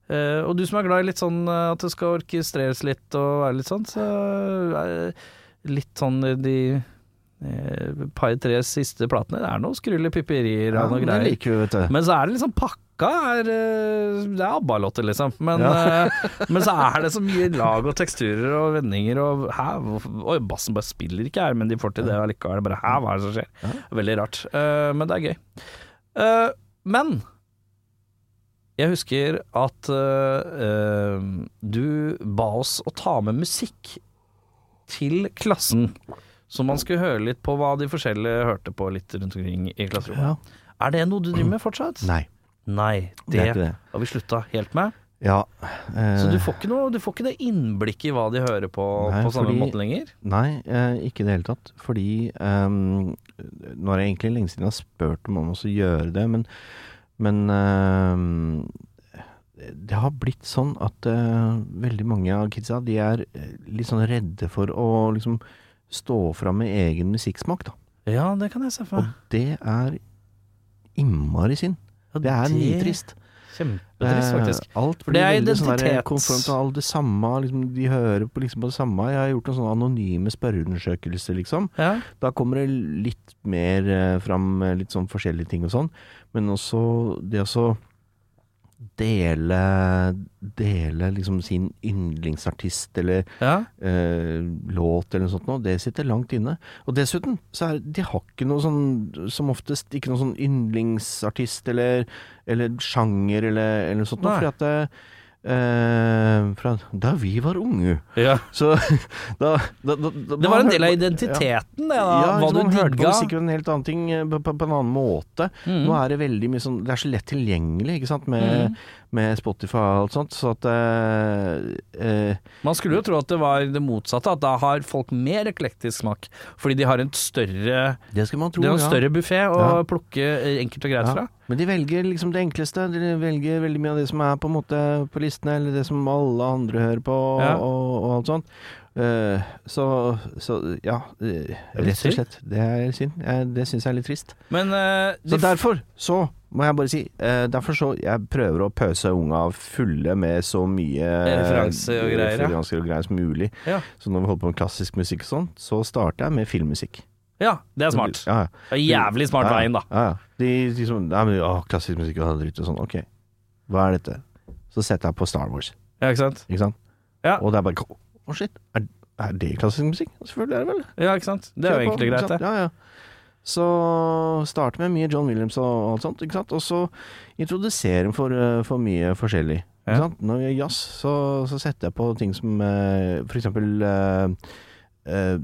Speaker 2: eh, Og du som er glad i litt sånn eh, at det skal orkestreres litt og være litt sånn, så er det litt sånn de eh, par-tre siste platene Det er noe skrullepipperier
Speaker 3: Ja,
Speaker 2: og noe
Speaker 3: det
Speaker 2: greier.
Speaker 3: liker vi, vet du.
Speaker 2: Men så er det liksom pakka er, eh, Det er ABBA-låter, liksom. Men,
Speaker 3: Ja.
Speaker 2: eh, men så er det så mye lag og teksturer og vendinger og Hæ, hvorfor- oi, bassen bare spiller ikke her, men de får til det allikevel. Bare hæ, hva er det som skjer? Veldig rart. Eh, men det er gøy. Eh, men jeg husker at eh, eh, du ba oss å ta med musikk til klassen. Så man skulle høre litt på hva de forskjellige hørte på litt rundt omkring i klasserommet.
Speaker 3: Ja.
Speaker 2: Er det noe du driver med fortsatt?
Speaker 3: Nei,
Speaker 2: Nei,
Speaker 3: det
Speaker 2: det
Speaker 3: er ikke det.
Speaker 2: har vi slutta helt med.
Speaker 3: Ja.
Speaker 2: Så
Speaker 3: eh,
Speaker 2: du får ikke, noe, du får ikke det innblikket i hva de hører på
Speaker 3: Nei,
Speaker 2: på samme
Speaker 3: fordi-
Speaker 2: måte lenger?
Speaker 3: Nei, eh, ikke i det hele tatt. Fordi ehm, Nå er det egentlig lenge siden jeg har spurt dem om å gjøre det, men, men ehm, det har blitt sånn at eh, veldig mange av kidsa de er eh, litt sånn redde for å liksom stå fram med egen musikksmak, da.
Speaker 2: Ja, det kan jeg se for
Speaker 3: Og
Speaker 2: meg.
Speaker 3: det er innmari synd.
Speaker 2: Ja,
Speaker 3: Det er nitrist.
Speaker 2: Kjempetrist, faktisk.
Speaker 3: Eh, Alt
Speaker 2: det
Speaker 3: blir
Speaker 2: er
Speaker 3: veldig sånn der
Speaker 2: identitets-
Speaker 3: konformt og alt det samme. Liksom, de hører på, liksom, på det samme. Jeg har gjort noen sånne anonyme spørreundersøkelser, liksom.
Speaker 2: Ja.
Speaker 3: Da kommer det litt mer eh, fram eh, litt sånn forskjellige ting og sånn. Men også det å så dele Dele liksom sin yndlingsartist eller
Speaker 2: Ja.
Speaker 3: eh, låt eller noe sånt noe, det sitter langt inne. Og dessuten så er de har ikke noe sånn som oftest ikke noe sånn yndlingsartist eller, eller sjanger eller, eller noe sånt noe.
Speaker 2: Nei.
Speaker 3: Fordi at det, eh, fra da vi var unge.
Speaker 2: ja.
Speaker 3: Så da, da, da, da
Speaker 2: Det var en
Speaker 3: man
Speaker 2: del av
Speaker 3: hørte på- ja.
Speaker 2: identiteten, det, da.
Speaker 3: Ja,
Speaker 2: hva
Speaker 3: liksom,
Speaker 2: du
Speaker 3: man hørte på
Speaker 2: digga.
Speaker 3: musikk på en helt annen ting eh, på, på, på en annen måte.
Speaker 2: Mm.
Speaker 3: Nå er det veldig mye sånn Det er så lett tilgjengelig, ikke sant, med,
Speaker 2: Mhm.
Speaker 3: med Spotify og alt sånt, så at eh, eh,
Speaker 2: Man skulle jo tro at det var det motsatte, at da har folk mer eklektisk smak, fordi de har en større,
Speaker 3: Det skal man tro,
Speaker 2: de har en
Speaker 3: ja.
Speaker 2: større buffé å
Speaker 3: Ja.
Speaker 2: plukke enkelt og greit
Speaker 3: Ja.
Speaker 2: fra.
Speaker 3: Men de velger liksom det enkleste. De velger veldig mye av det som er på en måte på listene, eller det som alle andre hører på, og,
Speaker 2: Ja.
Speaker 3: og, og alt sånt. Eh, så, så ja eh,
Speaker 2: er litt
Speaker 3: Rett og
Speaker 2: synd.
Speaker 3: slett. Det er synd. Eh, det syns jeg er litt trist.
Speaker 2: Men eh,
Speaker 3: Så
Speaker 2: de
Speaker 3: derfor så må jeg bare si eh, Derfor så Jeg prøver å pøse unga fulle med så mye
Speaker 2: Eh,
Speaker 3: eh,
Speaker 2: Referanser og greier, ja.
Speaker 3: referanser og greier som mulig.
Speaker 2: Ja.
Speaker 3: Så når vi holder på med klassisk musikk og sånn, så starter jeg med filmmusikk.
Speaker 2: Ja, det er smart.
Speaker 3: Ja, ja.
Speaker 2: Det er jævlig smart
Speaker 3: Ja, ja.
Speaker 2: veien, da.
Speaker 3: Ja, ja. De liksom Nei, men å, klassisk musikk og dritt og sånn. Ok, hva er dette? Så setter jeg på Star Wars,
Speaker 2: Ja, ikke sant?
Speaker 3: ikke sant?
Speaker 2: Ja.
Speaker 3: Og det er bare Å, shit. Er, er det klassisk musikk? Selvfølgelig er det vel
Speaker 2: Ja, ikke sant? Det er jo
Speaker 3: Kjør på,
Speaker 2: egentlig
Speaker 3: ikke
Speaker 2: greit,
Speaker 3: sant?
Speaker 2: det.
Speaker 3: Ja, ja. Så starte med mye John Williams og alt sånt, ikke sant? og så introdusere dem for, eh, for mye forskjellig.
Speaker 2: Ja.
Speaker 3: Ikke sant? Når jeg gjør jazz, så, så setter jeg på ting som eh, for eksempel eh, eh,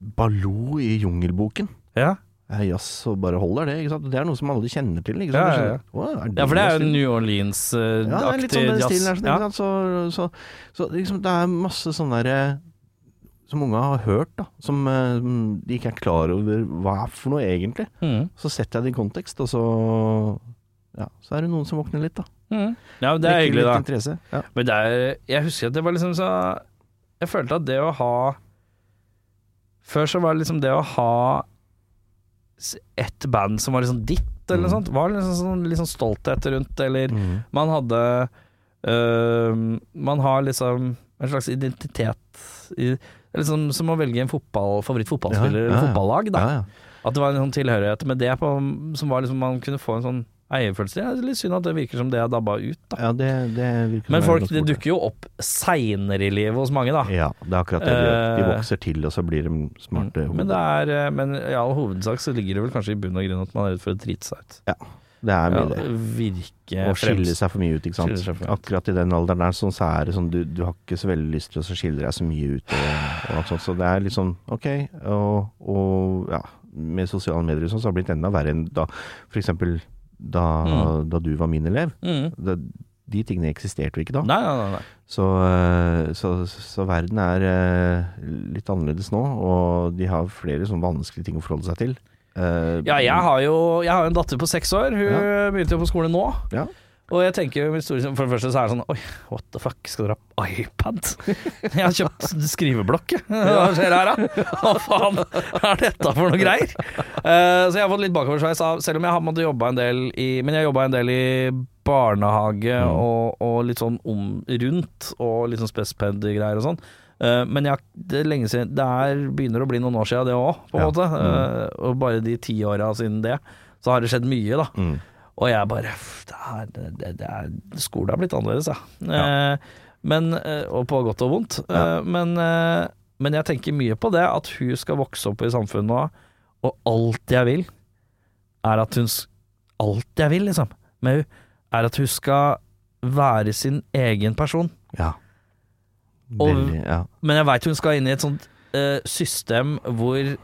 Speaker 3: Baloo i Jungelboken.
Speaker 2: Ja.
Speaker 3: Eh, Jazz og bare holder det, ikke sant? Det er noe som alle kjenner til, ikke sant?
Speaker 2: Ja, ja, ja.
Speaker 3: Å, er
Speaker 2: Ja, for det er jo
Speaker 3: jazz?
Speaker 2: New Orleans-aktig
Speaker 3: Ja, det er litt sånn den stilen her, sånn,
Speaker 2: ja.
Speaker 3: ikke sant? Så, så, så liksom, det er masse sånne der eh, som unga har hørt, da, som eh, som de ikke er klar over hva er for noe egentlig.
Speaker 2: Mm.
Speaker 3: Så setter jeg det i kontekst, og så ja, så er det noen som våkner litt, da.
Speaker 2: Mm. ja, men det er
Speaker 3: Vekker
Speaker 2: hyggelig,
Speaker 3: litt
Speaker 2: da.
Speaker 3: Interesse. Ja.
Speaker 2: Men det er, jeg husker at det var liksom så Jeg følte at det å ha Før så var det liksom det å ha s- ett band som var liksom ditt, eller noe
Speaker 3: Mm.
Speaker 2: sånt, var liksom sånn litt sånn stolthet rundt, eller
Speaker 3: Mm.
Speaker 2: man hadde øhm, Man har liksom en slags identitet i det er Liksom som å velge en fotball, favorittfotballspiller
Speaker 3: Ja, ja,
Speaker 2: eller
Speaker 3: ja.
Speaker 2: fotballag, da.
Speaker 3: Ja, ja.
Speaker 2: At det var en sånn tilhørighet med det på, som var liksom man kunne få en sånn eierfølelse. Det er litt synd at det virker som det har dabba ut, da.
Speaker 3: ja, det, det virker som
Speaker 2: Men
Speaker 3: det er
Speaker 2: folk
Speaker 3: ganske
Speaker 2: det
Speaker 3: borte.
Speaker 2: dukker jo opp seinere i livet hos mange, da.
Speaker 3: Ja, det er akkurat det de gjør. De
Speaker 2: Eh,
Speaker 3: vokser til, og så blir de smarte.
Speaker 2: Men, det er, eh, men i all hovedsak så ligger det vel kanskje i bunn og grunn at man er redd for å drite seg ut.
Speaker 3: det er
Speaker 2: Ja,
Speaker 3: mye det.
Speaker 2: virke
Speaker 3: Å skille
Speaker 2: fremst.
Speaker 3: seg for mye ut, ikke
Speaker 2: Skille seg for
Speaker 3: sant.
Speaker 2: mye ut.
Speaker 3: Akkurat i den alderen der, sånn, så er det sånn du, du har ikke så veldig lyst til å skille deg så mye ut. Og, og alt sånt, så det er litt sånn ok, og, og ja, med sosiale medier og sånn, så har det blitt enda verre enn da for eksempel da, da du var min elev.
Speaker 2: Mm.
Speaker 3: Da, de tingene eksisterte jo ikke da.
Speaker 2: Nei, nei, nei. nei.
Speaker 3: Så, eh, så, så verden er eh, litt annerledes nå, og de har flere sånne vanskelige ting å forholde seg til. Eh,
Speaker 2: Ja, jeg har jo jeg har jo en datter på seks år. Hun begynte jo på skole nå.
Speaker 3: ja.
Speaker 2: Og jeg tenker jo min store, For det første så er det sånn Oi, what the fuck, skal dere ha iPad? Jeg har kjøpt skriveblokk, jeg. Hva skjer her, da? Hva faen er dette for noe greier? Eh, så jeg har fått litt bakoversveis av Selv om jeg har måttet jobbe en del i Men jeg jobba en del i barnehage
Speaker 3: Mm.
Speaker 2: og, og litt sånn om rundt, og litt sånn spesped-greier og sånn. Eh, Men jeg, det er lenge siden Det er, begynner å bli noen år siden det òg, på en
Speaker 3: Ja. Mm.
Speaker 2: måte. Eh, Og bare de ti åra siden det, så har det skjedd mye, da.
Speaker 3: mm,
Speaker 2: Og jeg bare "F, det er, det, det er, Skolen har blitt annerledes, ja.
Speaker 3: Ja.
Speaker 2: Eh, men, eh, og på godt og vondt. Eh,
Speaker 3: Ja.
Speaker 2: men, eh, men jeg tenker mye på det, at hun skal vokse opp i samfunnet nå, og alt jeg vil, er at hun s- Alt jeg vil, liksom, med hun, er at hun skal være sin egen person.
Speaker 3: ja.
Speaker 2: Og-
Speaker 3: Veldig, ja.
Speaker 2: Men jeg veit hun skal inn i et sånt eh, system hvor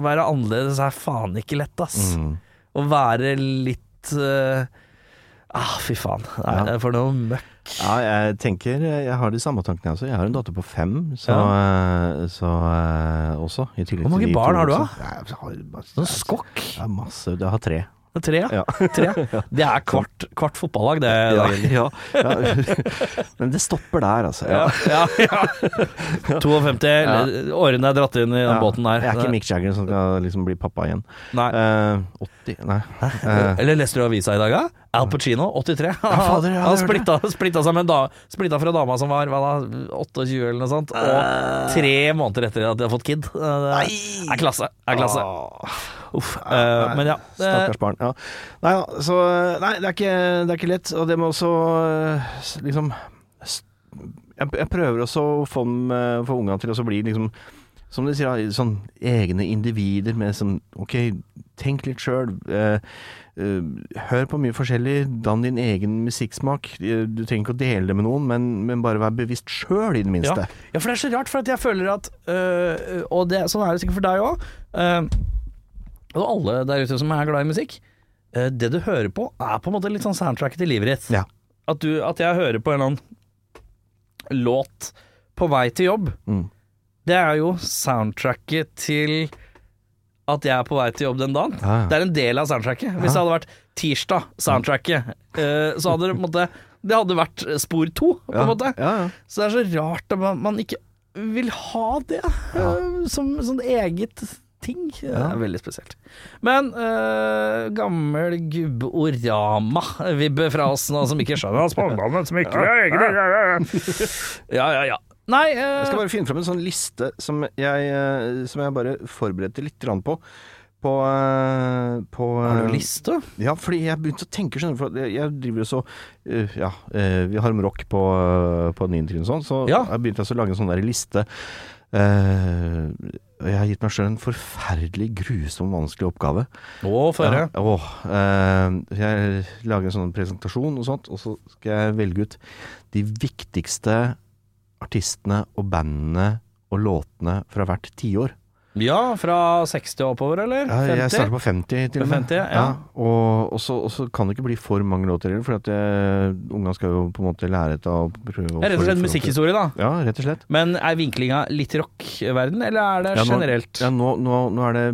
Speaker 2: Være annerledes er faen ikke lett, ass.
Speaker 3: Mm.
Speaker 2: Å være litt eh, Ah, fy faen. Nei,
Speaker 3: Ja.
Speaker 2: det er For noe møkk.
Speaker 3: Ja, jeg tenker eh, Jeg har de samme tankene, jeg også. Jeg har en datter på fem, så, eh, så eh, også. I tillegg
Speaker 2: Hvor mange
Speaker 3: til de
Speaker 2: barn
Speaker 3: to
Speaker 2: har du, da?
Speaker 3: voksne. Jeg har masse,
Speaker 2: Sånn skokk.
Speaker 3: jeg har masse. Jeg har tre.
Speaker 2: Det er Tre, ja.
Speaker 3: Ja.
Speaker 2: Tre. Det er kvart, kvart fotballag, det.
Speaker 3: Ja,
Speaker 2: Dagen.
Speaker 3: ja, ja. Men det stopper der, altså. Ja.
Speaker 2: Ja, ja, ja. 52. eller Årene er dratt inn i den
Speaker 3: Ja.
Speaker 2: båten der.
Speaker 3: Jeg er ikke Mick Jagger som skal liksom bli pappa igjen.
Speaker 2: Nei.
Speaker 3: Eh, 80 Nei. Eh,
Speaker 2: Eller leste du avisa i dag, da? Al Pacino, 83.
Speaker 3: fader, ja,
Speaker 2: han
Speaker 3: det
Speaker 2: splitta, splitta seg med en da, splitta fra dama som var hva da, 28 eller noe sånt,
Speaker 3: Eh.
Speaker 2: og tre måneder etter at de har fått kid. Eh, Det er klasse. Det er klasse. Uff. eh, Men ja. eh,
Speaker 3: Stakkars barn. Ja. Nei, ja, så, nei det, er ikke, det er ikke lett, og det må også eh, s- liksom s- Jeg, jeg prøver også å få, dem, eh, få unga til å så bli liksom som de sier, ja, sånn egne individer med sånn OK, tenk litt sjøl. Eh, eh, hør på mye forskjellig. Dann din egen musikksmak. Eh, Du trenger ikke å dele det med noen, men, men bare vær bevisst sjøl, i det minste.
Speaker 2: Ja. ja, for det er så rart, for at jeg føler at øh, Og det, sånn er det sikkert for deg òg. og alle der ute som er glad i musikk. øh, det du hører på, er på en måte litt sånn soundtracket til livet ditt.
Speaker 3: Ja.
Speaker 2: At, du, at jeg hører på en eller annen låt på vei til jobb.
Speaker 3: Mm.
Speaker 2: Det er jo soundtracket til at jeg er på vei til jobb den dagen.
Speaker 3: Ja, ja.
Speaker 2: Det er en del av soundtracket. Hvis det hadde vært tirsdag, soundtracket, øh, så hadde det på en måte Det hadde vært spor to, på en måte.
Speaker 3: Ja, ja.
Speaker 2: Så det er så rart at man, man ikke vil ha det eh, som sånn eget ting. Det er veldig spesielt. Men eh, gammel gubbe-orama-vibbe fra oss nå, som ikke skjønner hans spådom, som ikke vil ha egne Ja, ja, ja. Nei eh,
Speaker 3: Jeg skal bare finne fram en sånn liste som jeg, eh, som jeg bare forberedte litt grann på. På, eh, på
Speaker 2: Har
Speaker 3: eh,
Speaker 2: du liste?
Speaker 3: Ja, fordi jeg begynte å tenke, skjønner du. For jeg- jeg driver jo så eh, Ja, eh, vi har om rock på, eh, på niende trinn og sånn, så
Speaker 2: Ja.
Speaker 3: jeg begynte altså å lage en sånn der liste. Eh, og jeg har gitt meg sjøl en forferdelig grusom vanskelig oppgave.
Speaker 2: Å, få høre.
Speaker 3: Ja, åh, eh, jeg lager en sånn presentasjon og sånt, og så skal jeg velge ut de viktigste artistene og bandene og låtene fra hvert tiår.
Speaker 2: Ja, fra 60 og oppover, eller?
Speaker 3: Ja, jeg
Speaker 2: 50?
Speaker 3: starter på 50 til og med.
Speaker 2: 50, ja.
Speaker 3: og, og, så, og så kan det ikke bli for mange låter heller, for at eh, unga skal jo på en måte lære etter å prøve å
Speaker 2: Det er rett og slett musikkhistorie, da.
Speaker 3: Ja, rett og slett.
Speaker 2: Men er vinklinga litt rockverden, eller er det
Speaker 3: Ja, nå-
Speaker 2: generelt?
Speaker 3: Ja, nå, nå, nå er det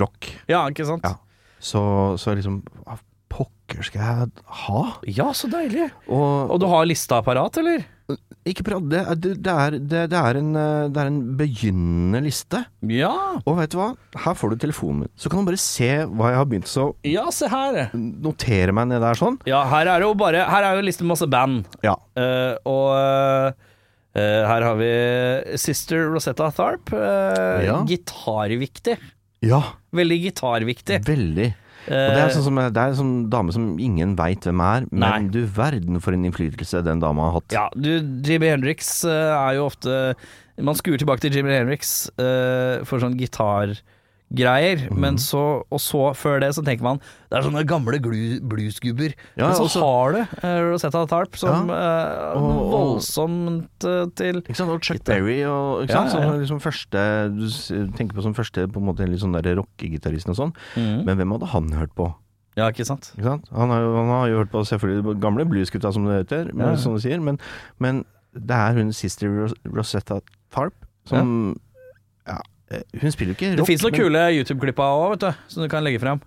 Speaker 3: rock,
Speaker 2: Ja, ikke sant?
Speaker 3: Ja. så, så jeg liksom Hva pokker skal jeg ha?
Speaker 2: ja, så deilig.
Speaker 3: Og,
Speaker 2: Og du har lista parat, eller?
Speaker 3: Ikke prat, det, er- det, det, er, det, det, er en, eh, det er en begynnende liste.
Speaker 2: Ja.
Speaker 3: Og vet du hva? Her får du telefonen min. Så kan du bare se hva jeg har begynt så
Speaker 2: Ja, se her.
Speaker 3: notere meg ned der sånn.
Speaker 2: Ja, her er det jo bare Her er jo en liste med masse band.
Speaker 3: Ja.
Speaker 2: Eh, og eh, her har vi Sister Rosetta Tharp. eh,
Speaker 3: Ja.
Speaker 2: Gitarviktig.
Speaker 3: Ja,
Speaker 2: Veldig gitarviktig.
Speaker 3: veldig. Og det er, sånn som, det er en sånn dame som ingen veit hvem er, men
Speaker 2: Nei.
Speaker 3: du verden for en innflytelse den dama har hatt.
Speaker 2: Ja, du, Jimmy Hendrix eh, er jo ofte Man skuer tilbake til Jimmy Hendrix eh, for sånn gitargreier,
Speaker 3: Mhm.
Speaker 2: men så Og så, før det, så tenker man det er sånne gamle glu, bluesgubber.
Speaker 3: Ja,
Speaker 2: men så
Speaker 3: og så-
Speaker 2: har du eh, Rosetta Tarp, som eh,
Speaker 3: og-
Speaker 2: voldsomt eh, til
Speaker 3: Ikke sant? Og Chuck Berry og ikke
Speaker 2: Ja,
Speaker 3: sant?
Speaker 2: ja, ja.
Speaker 3: Som liksom første Mhm. Du s- tenker på som første på en måte litt sånn der rockegitaristen og sånn. Men hvem hadde han hørt på?
Speaker 2: Ja, ikke sant?
Speaker 3: Ikke sant? Han, har, jo- han har jo hørt på selvfølgelig de gamle bluesgutta, som det heter, men,
Speaker 2: Ja.
Speaker 3: som du sier, men, men det er hun sister Ros Rosetta Tharp som ja. eh, Hun spiller jo ikke
Speaker 2: Det
Speaker 3: rock.
Speaker 2: fins noen
Speaker 3: men-
Speaker 2: kule YouTube-klipp av òg, vet du, som du kan legge fram.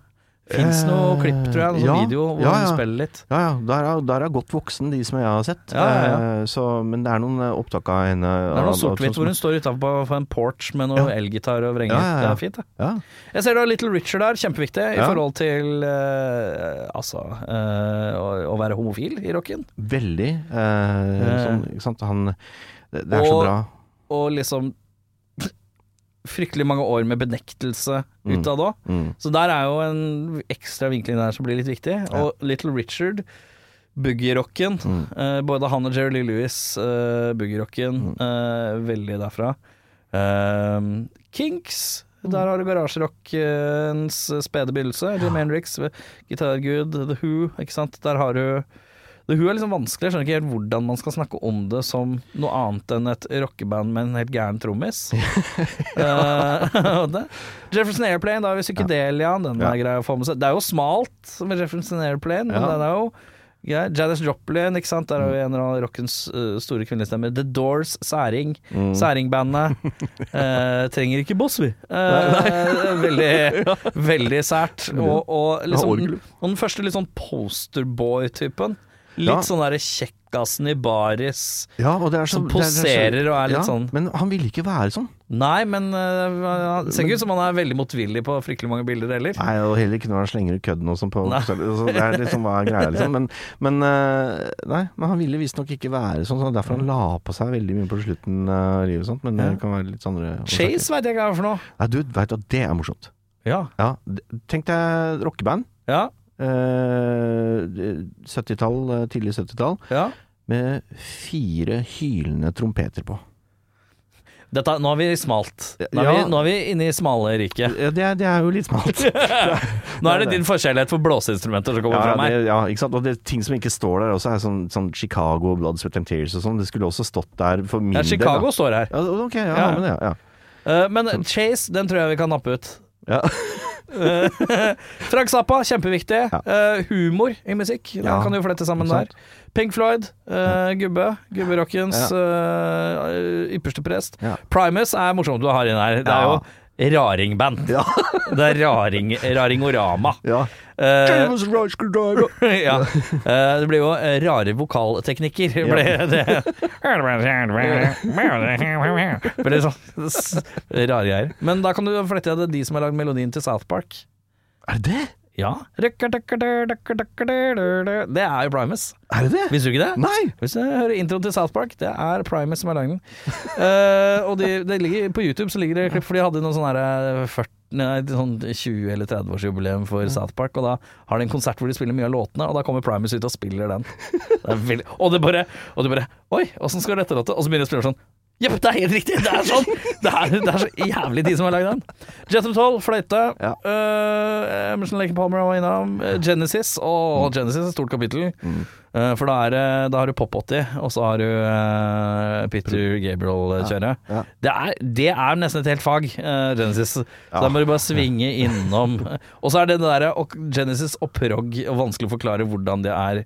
Speaker 2: Fins
Speaker 3: Eh,
Speaker 2: noe klipp, tror jeg, noen
Speaker 3: ja.
Speaker 2: video hvor
Speaker 3: Ja, ja.
Speaker 2: hun spiller litt.
Speaker 3: Ja, ja. Der er, der er godt voksen, de som jeg har sett.
Speaker 2: Ja, ja, ja.
Speaker 3: Eh, Så, men det er noen eh, opptak av
Speaker 2: Det
Speaker 3: henne.
Speaker 2: er noe sort-hvitt hvor hun står utafor en porch med noe
Speaker 3: sånn Ja.
Speaker 2: elgitar og vrenger.
Speaker 3: Ja, ja, ja.
Speaker 2: Det er fint, det.
Speaker 3: ja.
Speaker 2: Jeg ser du har Little Richard der, kjempeviktig i
Speaker 3: Ja.
Speaker 2: forhold til eh, altså eh, å, å være homofil i rocken.
Speaker 3: Veldig. Eh,
Speaker 2: Eh.
Speaker 3: sånn, ikke sant? Han Det, det er så
Speaker 2: Og-
Speaker 3: bra.
Speaker 2: Og liksom fryktelig mange år med benektelse
Speaker 3: Mm.
Speaker 2: utad òg.
Speaker 3: Mm.
Speaker 2: Så der er jo en ekstra vinkling der som blir litt viktig. Og Little Richard, boogie-rocken.
Speaker 3: Mm.
Speaker 2: eh, både han og Jerry Lee Lewis, eh, boogie-rocken.
Speaker 3: Mm.
Speaker 2: eh, veldig derfra. Eh, Kinks. Der har du garasjerockens spede begynnelse. Jim Hendrix, gitargud, The Who. ikke sant? Der har du The Who er liksom vanskelig. Jeg skjønner ikke helt hvordan man skal snakke om det som noe annet enn et rockeband med en helt gæren trommis. Eh, og det- Jefferson Airplane, da har vi psykedeliaen. Den
Speaker 3: Ja.
Speaker 2: er grei å få med seg. Det er jo smalt med Jefferson Airplane, men
Speaker 3: Ja. Mm.
Speaker 2: den er jo grei. Janis Joplin, ikke sant. Der har vi en av rockens eh, store kvinnelige stemmer. The Doors, særing.
Speaker 3: Mm.
Speaker 2: Særingbandet. Eh, trenger ikke boss, vi. Eh, veldig, veldig sært. Og, og liksom
Speaker 3: Mm. orgel.
Speaker 2: og den første litt sånn posterboy-typen. Litt
Speaker 3: Ja.
Speaker 2: sånn derre kjekkasen i baris.
Speaker 3: Ja, og det er så,
Speaker 2: Som
Speaker 3: det er- det
Speaker 2: poserer
Speaker 3: er
Speaker 2: og
Speaker 3: så-
Speaker 2: er litt
Speaker 3: ja,
Speaker 2: sånn.
Speaker 3: Men han ville ikke være sånn.
Speaker 2: Nei, men eh, det ser ikke ut som han er veldig motvillig på fryktelig mange bilder heller.
Speaker 3: Nei, og heller ikke når han slenger ut kødden og sånn på altså, Det er liksom hva er greia, liksom. Men, men eh, Nei, men han ville visstnok ikke være sånn, så det er derfor han la på seg veldig mye på slutten av livet og sånt, men det kan være litt sånn andre årsaker.
Speaker 2: Chase veit jeg ikke hva er for noe.
Speaker 3: Nei, du veit at det er morsomt.
Speaker 2: Ja.
Speaker 3: Ja, d- tenk deg rockeband.
Speaker 2: Ja.
Speaker 3: eh, 70-tall, eh, tidlig 70-tall,
Speaker 2: ja.
Speaker 3: med fire hylende trompeter på.
Speaker 2: Dette, nå har vi smalt. Nå er,
Speaker 3: Ja.
Speaker 2: vi, nå er vi inne i smale riket.
Speaker 3: Ja, det, er- det er jo litt smalt.
Speaker 2: Nå er det
Speaker 3: det er
Speaker 2: din forskjellighet for blåseinstrumenter som kommer
Speaker 3: Ja,
Speaker 2: fram her.
Speaker 3: det, ja, ikke sant? Og det, ting som ikke står der også, er sånn, sånn Chicago, Blood, Sweat and Tears og sånn. Det skulle også stått der for min
Speaker 2: Ja,
Speaker 3: del.
Speaker 2: Chicago
Speaker 3: da.
Speaker 2: står her.
Speaker 3: Ja, ok, ja,
Speaker 2: Ja.
Speaker 3: men det, ja.
Speaker 2: Eh, men Chase, den tror jeg vi kan nappe ut.
Speaker 3: Sånn.
Speaker 2: Eh,
Speaker 3: Ja.
Speaker 2: Frank Zappa, kjempeviktig.
Speaker 3: Ja.
Speaker 2: Eh, humor i musikk, den
Speaker 3: Ja,
Speaker 2: kan du jo flette sammen
Speaker 3: ikke
Speaker 2: der.
Speaker 3: sant.
Speaker 2: Pink Floyd, eh, gubbe. Gubberockens eh, ypperste prest.
Speaker 3: Ja.
Speaker 2: Primus er morsomt du har inn her. Det er
Speaker 3: Ja.
Speaker 2: jo raringband.
Speaker 3: Ja.
Speaker 2: Det er raring, raringorama.
Speaker 3: ja.
Speaker 2: Eh,
Speaker 3: James Rice could drive a-
Speaker 2: ja. Eh, det blir jo eh, rare vokalteknikker. Ble det. Ble sånn s- rare greier. Men da kan du flette det de som har lagd melodien til South Park.
Speaker 3: Er det det?
Speaker 2: Ja. Det er jo Primus.
Speaker 3: Er det det?
Speaker 2: Visste du ikke det?
Speaker 3: Nei!
Speaker 2: Hvis du hører introen til South Park, det er Primus som har lagd den. Eh, og de, det ligger, på YouTube så ligger det klipp, for de hadde noen sånne her, eh, 40 Nei, sånn 20- eller 30-årsjubileum for South Park, og da har de en konsert hvor de spiller mye av låtene, og da kommer Primus ut og spiller den. Det er veldig, og det bare Og du bare Oi, åssen skal dette låte? Og så begynner de å spille sånn. Jepp, det er helt riktig! Det er sånn! Det er, det er så jævlig de som har lagd den. Jethro Tull, fløyte.
Speaker 3: Ja.
Speaker 2: Eh, Emerson Lake Palmer var innom. Eh, Genesis.
Speaker 3: Mm.
Speaker 2: Å, Genesis er et stort kapittel. Eh, for da, er, det- da har du Pop 80, og så har du eh, Peter Gabriel-kjøret.
Speaker 3: Ja, ja.
Speaker 2: Det, er- det er nesten et helt fag, eh, Genesis. Så da må du bare svinge innom. Og så er det det derre og Genesis og prog, og vanskelig å forklare hvordan det er.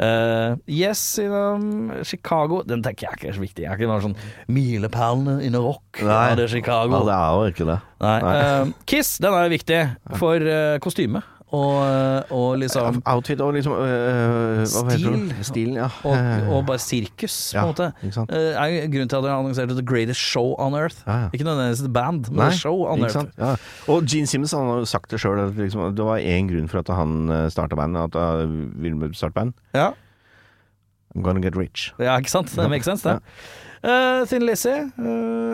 Speaker 2: Eh, yes, innom Chicago Den tenker jeg ikke er så viktig. Jeg er ikke noe sånn milepælene innen rock.
Speaker 3: Nei.
Speaker 2: Ja, det er Chicago.
Speaker 3: Ja, det er jo ikke det.
Speaker 2: Nei.
Speaker 3: Nei.
Speaker 2: eh, Kiss, den er jo viktig for eh, kostyme og, og liksom
Speaker 3: Outfit og liksom øh, hva heter
Speaker 2: Stil.
Speaker 3: det? Stilen, ja. Eh,
Speaker 2: og, og bare sirkus, på en
Speaker 3: Ja,
Speaker 2: måte.
Speaker 3: ikke sant.
Speaker 2: Eh, er jo grunnen til at de annonserte The Greatest Show on Earth.
Speaker 3: Ja, ja.
Speaker 2: Ikke nødvendigvis et band, men
Speaker 3: Nei,
Speaker 2: et show on
Speaker 3: ikke
Speaker 2: Earth.
Speaker 3: sant? Ja. Og Gene Simmons han har jo sagt det sjøl, at liksom, det var én grunn for at han starta bandet. At han ville starte band.
Speaker 2: Ja.
Speaker 3: I'm gonna get rich.
Speaker 2: ja, ikke sant? Det makes sense, det. Eh, Thin Lizzy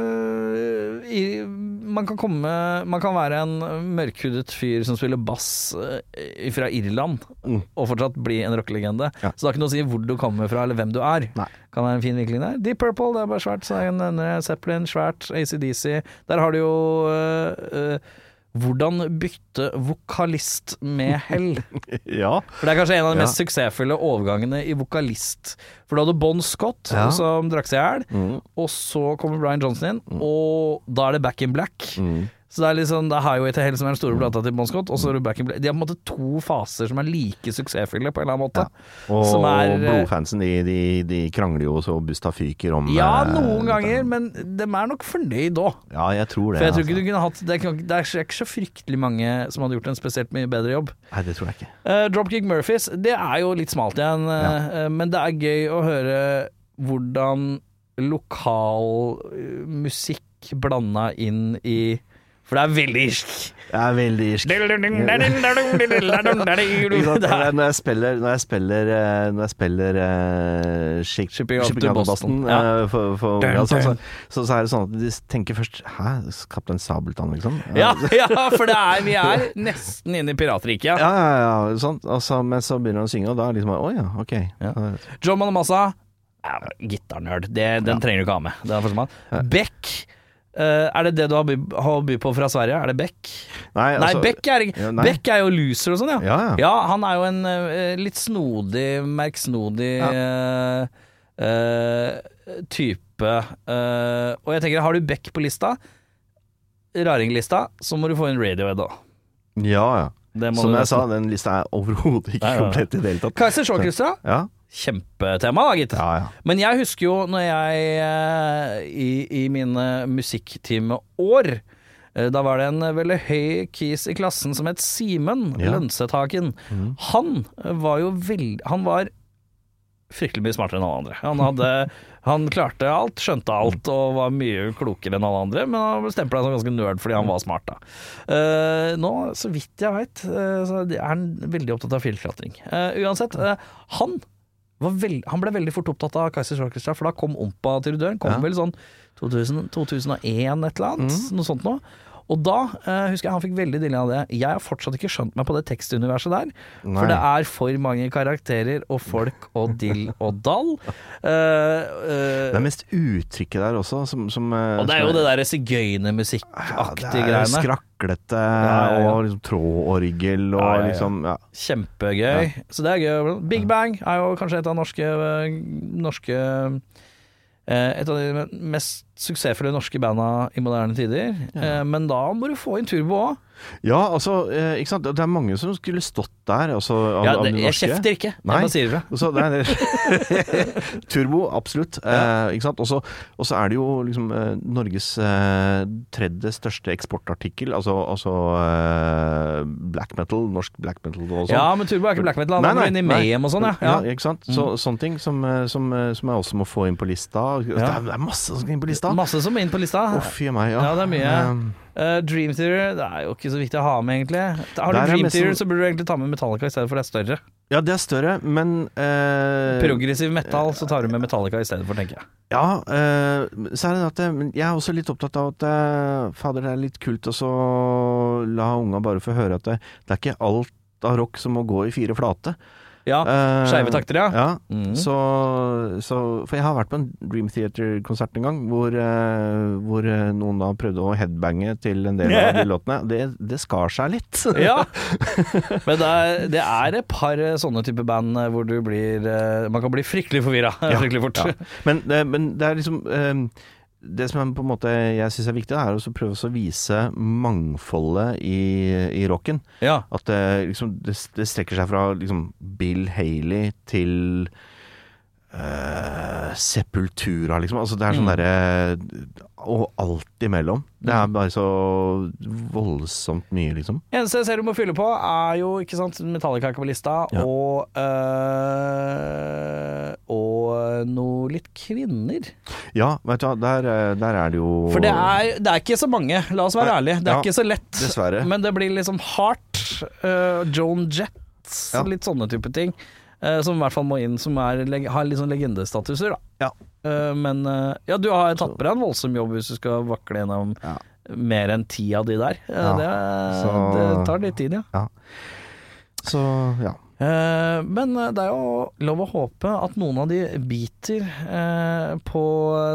Speaker 2: eh, i, man, kan komme, man kan være en mørkhudet fyr som spiller bass eh, fra Irland,
Speaker 3: Mm.
Speaker 2: og fortsatt bli en rockelegende.
Speaker 3: Ja.
Speaker 2: Så det har ikke noe å si hvor du kommer fra eller hvem du er.
Speaker 3: Nei.
Speaker 2: Kan være en fin vinkling der. Deep Purple, det er bare svært. Så er det en, en Zeppelin, svært. ACDC. Der har du jo eh, eh, hvordan bytte vokalist med hell.
Speaker 3: Ja.
Speaker 2: For Det er kanskje en av de
Speaker 3: Ja.
Speaker 2: mest suksessfulle overgangene i vokalist. For du hadde Bon Scott,
Speaker 3: Ja. Mm. Mm.
Speaker 2: som drakk seg i hjel, og så kommer Brian Johnson inn, og da er det Back in Black. Så det er litt sånn, det er Highway to Hell som er den store plata til Bon Scott, og så er det Back in Black. De har på en måte to faser som er like suksessfulle, på en eller annen måte.
Speaker 3: Og
Speaker 2: Som er, eh,
Speaker 3: blodfansen, de, de, de krangler jo så busta fyker om
Speaker 2: Ja,
Speaker 3: eh,
Speaker 2: noen
Speaker 3: dette.
Speaker 2: ganger, men dem er nok fornøyd òg.
Speaker 3: Ja, jeg tror det.
Speaker 2: For jeg tror ikke
Speaker 3: altså.
Speaker 2: du kunne hatt det, kan, det er ikke så fryktelig mange som hadde gjort en spesielt mye bedre jobb.
Speaker 3: Nei, det tror jeg ikke.
Speaker 2: Eh, Dropkick Murphys, det er jo litt smalt igjen, eh, eh, men det er gøy å høre hvordan lokal eh, musikk blanda inn i For det er veldig irsk.
Speaker 3: Jeg er veldig irsk. Ikke sant?
Speaker 2: Det er-
Speaker 3: Når jeg spiller Når jeg spiller, eh, når jeg spiller eh, Shake-
Speaker 2: Shipping up to
Speaker 3: Shipping up to
Speaker 2: Boston.
Speaker 3: Boston,
Speaker 2: Ja.
Speaker 3: eh, for, for
Speaker 2: Dun,
Speaker 3: ja, så, så,
Speaker 2: dun.
Speaker 3: så, så er det sånn at de tenker først Hæ, Kaptein Sabeltann, liksom?
Speaker 2: Ja, ja, for det er, vi er nesten inne i piratriket. Ja.
Speaker 3: Ja, ja, ja, sånn. Og så, men så begynner han å synge, og da er det liksom Å ja, ok.
Speaker 2: Ja.
Speaker 3: Da-
Speaker 2: John Manamassa ja, Gitarnerd, det- den trenger du ikke ha med Det er første mann. Beck eh, Er det det du har by- har å by på fra Sverige? Er det Beck?
Speaker 3: Nei,
Speaker 2: Nei,
Speaker 3: altså-
Speaker 2: Beck er, ikke-
Speaker 3: Ja, nei.
Speaker 2: Beck er jo loser og sånn, ja.
Speaker 3: Ja, ja.
Speaker 2: han er jo en eh, litt snodig, merksnodig eh, eh, type. Eh, og jeg tenker, har du Beck på lista, raringlista, så må du få inn Radiohead òg.
Speaker 3: Ja, ja.
Speaker 2: Det må
Speaker 3: Som
Speaker 2: du
Speaker 3: jeg sa,
Speaker 2: nesten.
Speaker 3: den lista er overhodet ikke
Speaker 2: Nei, nei, nei.
Speaker 3: komplett i det hele tatt.
Speaker 2: Kaiser Sjåkrystra,
Speaker 3: Ja,
Speaker 2: kjempetema da, gitt.
Speaker 3: ja. ja.
Speaker 2: Men jeg husker jo når jeg eh, i, i mine musikktimeår eh, Da var det en eh, veldig høy kis i klassen som het Simen
Speaker 3: Ja.
Speaker 2: Lønsethagen. Han eh, var jo veldig Han var fryktelig mye smartere enn alle andre. Han, hadde, han klarte alt, skjønte alt og var mye klokere enn alle andre, men han ble stempla som ganske nerd fordi han var smart, da. Eh, nå, så vidt jeg veit, så er han veldig opptatt av fjellklatring. Eh, uansett, eh, han var veld, han ble veldig fort opptatt av Kaizers Orchestra, for da kom Ompa til døren. Kom
Speaker 3: Ja. Mm.
Speaker 2: vel sånn 2000, 2001 et eller annet, noe sånt noe. Og da eh, husker jeg han fikk veldig dille av det. Jeg har fortsatt ikke skjønt meg på det tekstuniverset der.
Speaker 3: Nei.
Speaker 2: For det er for mange karakterer og folk og dill og dall. Eh, eh,
Speaker 3: Det er mest uttrykket der også som, som eh,
Speaker 2: og det er
Speaker 3: som
Speaker 2: jo det derre
Speaker 3: Ja, det
Speaker 2: sigøynermusikkaktige
Speaker 3: er
Speaker 2: greiene.
Speaker 3: Skraklete
Speaker 2: ja, ja.
Speaker 3: og liksom trådorgel og
Speaker 2: Ja, ja, ja.
Speaker 3: liksom ja.
Speaker 2: Kjempegøy. Så det er gøy. Big Bang er jo kanskje et av norske, norske eh, Et av de mest suksessfulle norske banda i moderne tider. Eh, Men da må du få inn Turbo òg.
Speaker 3: ja, altså, eh, ikke sant. Det er mange som skulle stått der, altså, av,
Speaker 2: Ja,
Speaker 3: av
Speaker 2: det-
Speaker 3: de
Speaker 2: jeg
Speaker 3: norske.
Speaker 2: kjefter ikke, jeg
Speaker 3: Nei.
Speaker 2: bare sier ifra.
Speaker 3: Og så- nei, det- Turbo, absolutt. Eh, ikke sant. Og så- Og så er det jo liksom eh, Norges eh, tredje største eksportartikkel, altså, altså eh, black metal, norsk black metal og sånn.
Speaker 2: Ja, men Turbo er ikke black metal. Han er inne i Mayhem og sånn, ja. ja.
Speaker 3: ikke sant? Så, Sånne ting som, eh, som, eh, som jeg også må få inn på lista. Det er, det er masse som skal inn på lista.
Speaker 2: Masse som er inn på lista.
Speaker 3: Å, fy meg, ja.
Speaker 2: Ja, det er mye.
Speaker 3: Um,
Speaker 2: Eh, Dream Theater det er jo ikke så viktig å ha med, egentlig. Har du
Speaker 3: Der er
Speaker 2: Dream
Speaker 3: mest
Speaker 2: Theater,
Speaker 3: sånn-
Speaker 2: så burde du egentlig ta med Metallica i stedet, for det er større.
Speaker 3: ja, det er større, men eh,
Speaker 2: Progressiv metal, så tar du med Metallica i stedet for, tenker jeg.
Speaker 3: Ja, eh, så er det det at eh, men jeg er også litt opptatt av at eh, fader, det er litt kult også å la unga bare få høre at det, det er ikke alt av rock som må gå i fire flate.
Speaker 2: Ja,
Speaker 3: Eh,
Speaker 2: Skeive takter, ja.
Speaker 3: Ja,
Speaker 2: Mm.
Speaker 3: så, så For jeg har vært på en Dream Theater-konsert en gang, hvor, eh, hvor eh, noen da prøvde å headbange til en del av de låtene. Det, det skar seg litt.
Speaker 2: Ja, men det er, det er et par eh, sånne type band eh, hvor du blir eh, Man kan bli fryktelig forvirra fryktelig fort.
Speaker 3: Ja. Men, det- men det er liksom eh, Det som er på en måte jeg syns er viktig, er å prøve å vise mangfoldet i, i rocken.
Speaker 2: Ja.
Speaker 3: At det, liksom, det, det strekker seg fra liksom, Bill Haley til eh, Sepultura, liksom. Altså, det er
Speaker 2: Mm.
Speaker 3: sånn derre Og alt imellom. Det er bare så voldsomt mye, liksom.
Speaker 2: Eneste jeg ser du må fylle på, er jo ikke sant, Metallica er ikke på lista,
Speaker 3: Ja.
Speaker 2: og eh, Og noe litt kvinner.
Speaker 3: Ja, vet du hva, der, eh, der er det jo
Speaker 2: For det er, det er ikke så mange, la oss være
Speaker 3: Nei,
Speaker 2: ærlige. Det er
Speaker 3: ja,
Speaker 2: ikke så lett.
Speaker 3: dessverre.
Speaker 2: Men det blir liksom hardt. eh, Joan Jett,
Speaker 3: Ja.
Speaker 2: litt sånne type ting. eh, som i hvert fall må inn, som er, leg- har litt sånn legendestatuser, da.
Speaker 3: Ja.
Speaker 2: Eh, men eh, ja, du har tatt på deg en voldsom jobb hvis du skal vakle gjennom
Speaker 3: Ja.
Speaker 2: mer enn ti av de der. Eh,
Speaker 3: Ja,
Speaker 2: det,
Speaker 3: så-
Speaker 2: det tar litt tid, ja.
Speaker 3: Så, ja.
Speaker 2: Eh, men eh, det er jo lov å håpe at noen av de biter eh, på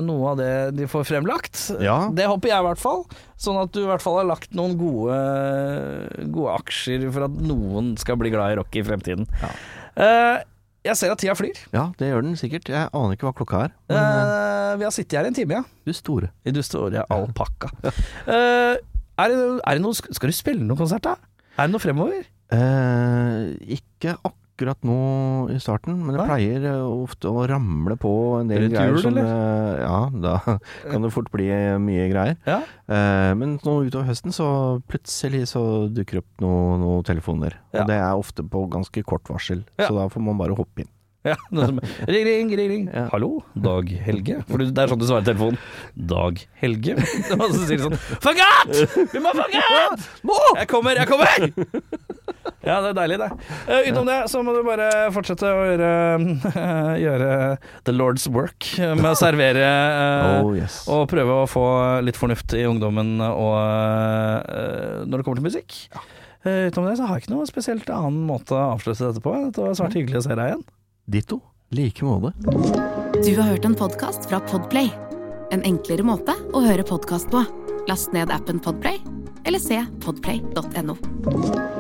Speaker 2: noe av det de får fremlagt.
Speaker 3: Ja.
Speaker 2: Det håper jeg i hvert fall. Sånn at du i hvert fall har lagt noen gode, gode aksjer for at noen skal bli glad i rock i fremtiden. Eh, jeg ser at tida flyr.
Speaker 3: ja, det gjør den sikkert. Jeg aner ikke hva klokka er.
Speaker 2: Eh, vi har sittet her en time, ja.
Speaker 3: Du store.
Speaker 2: I du store alpakka. Eh, Er det, er det noe, skal du spille noen konsert, da? Er det noe fremover?
Speaker 3: Eh, ikke akkurat nå i starten, men det
Speaker 2: Nei.
Speaker 3: pleier eh, ofte å ramle på en del
Speaker 2: Rundt
Speaker 3: greier.
Speaker 2: jul,
Speaker 3: som,
Speaker 2: eller?
Speaker 3: eh, ja, da kan det fort bli mye greier.
Speaker 2: Ja.
Speaker 3: Eh, men nå utover høsten så plutselig så dukker det opp noen noe telefoner.
Speaker 2: Ja.
Speaker 3: Og det er ofte på ganske kort varsel,
Speaker 2: Ja.
Speaker 3: så da får man bare hoppe inn.
Speaker 2: Ja, noe som, ring, ring, ring, ring. Hallo, Dag Helge? For det er sånn du svarer i telefonen. Dag Helge? Og så sier de sånn Forgot! Vi må forgot! Jeg kommer, jeg kommer! Ja, det er deilig, det. Eh, utenom det så må du bare fortsette å gjøre, gjøre the lord's work med å servere eh,
Speaker 3: oh yes.
Speaker 2: og prøve å få litt fornuft i ungdommen og, eh, når det kommer til musikk. Eh, utenom det så har jeg ikke noe spesielt annen måte å avslutte dette på. Det var svært hyggelig å se deg igjen.
Speaker 3: Ditto. Like måte.
Speaker 1: Du har hørt en podkast fra Podplay. En enklere måte å høre podkast på. Last ned appen Podplay, eller se podplay.no.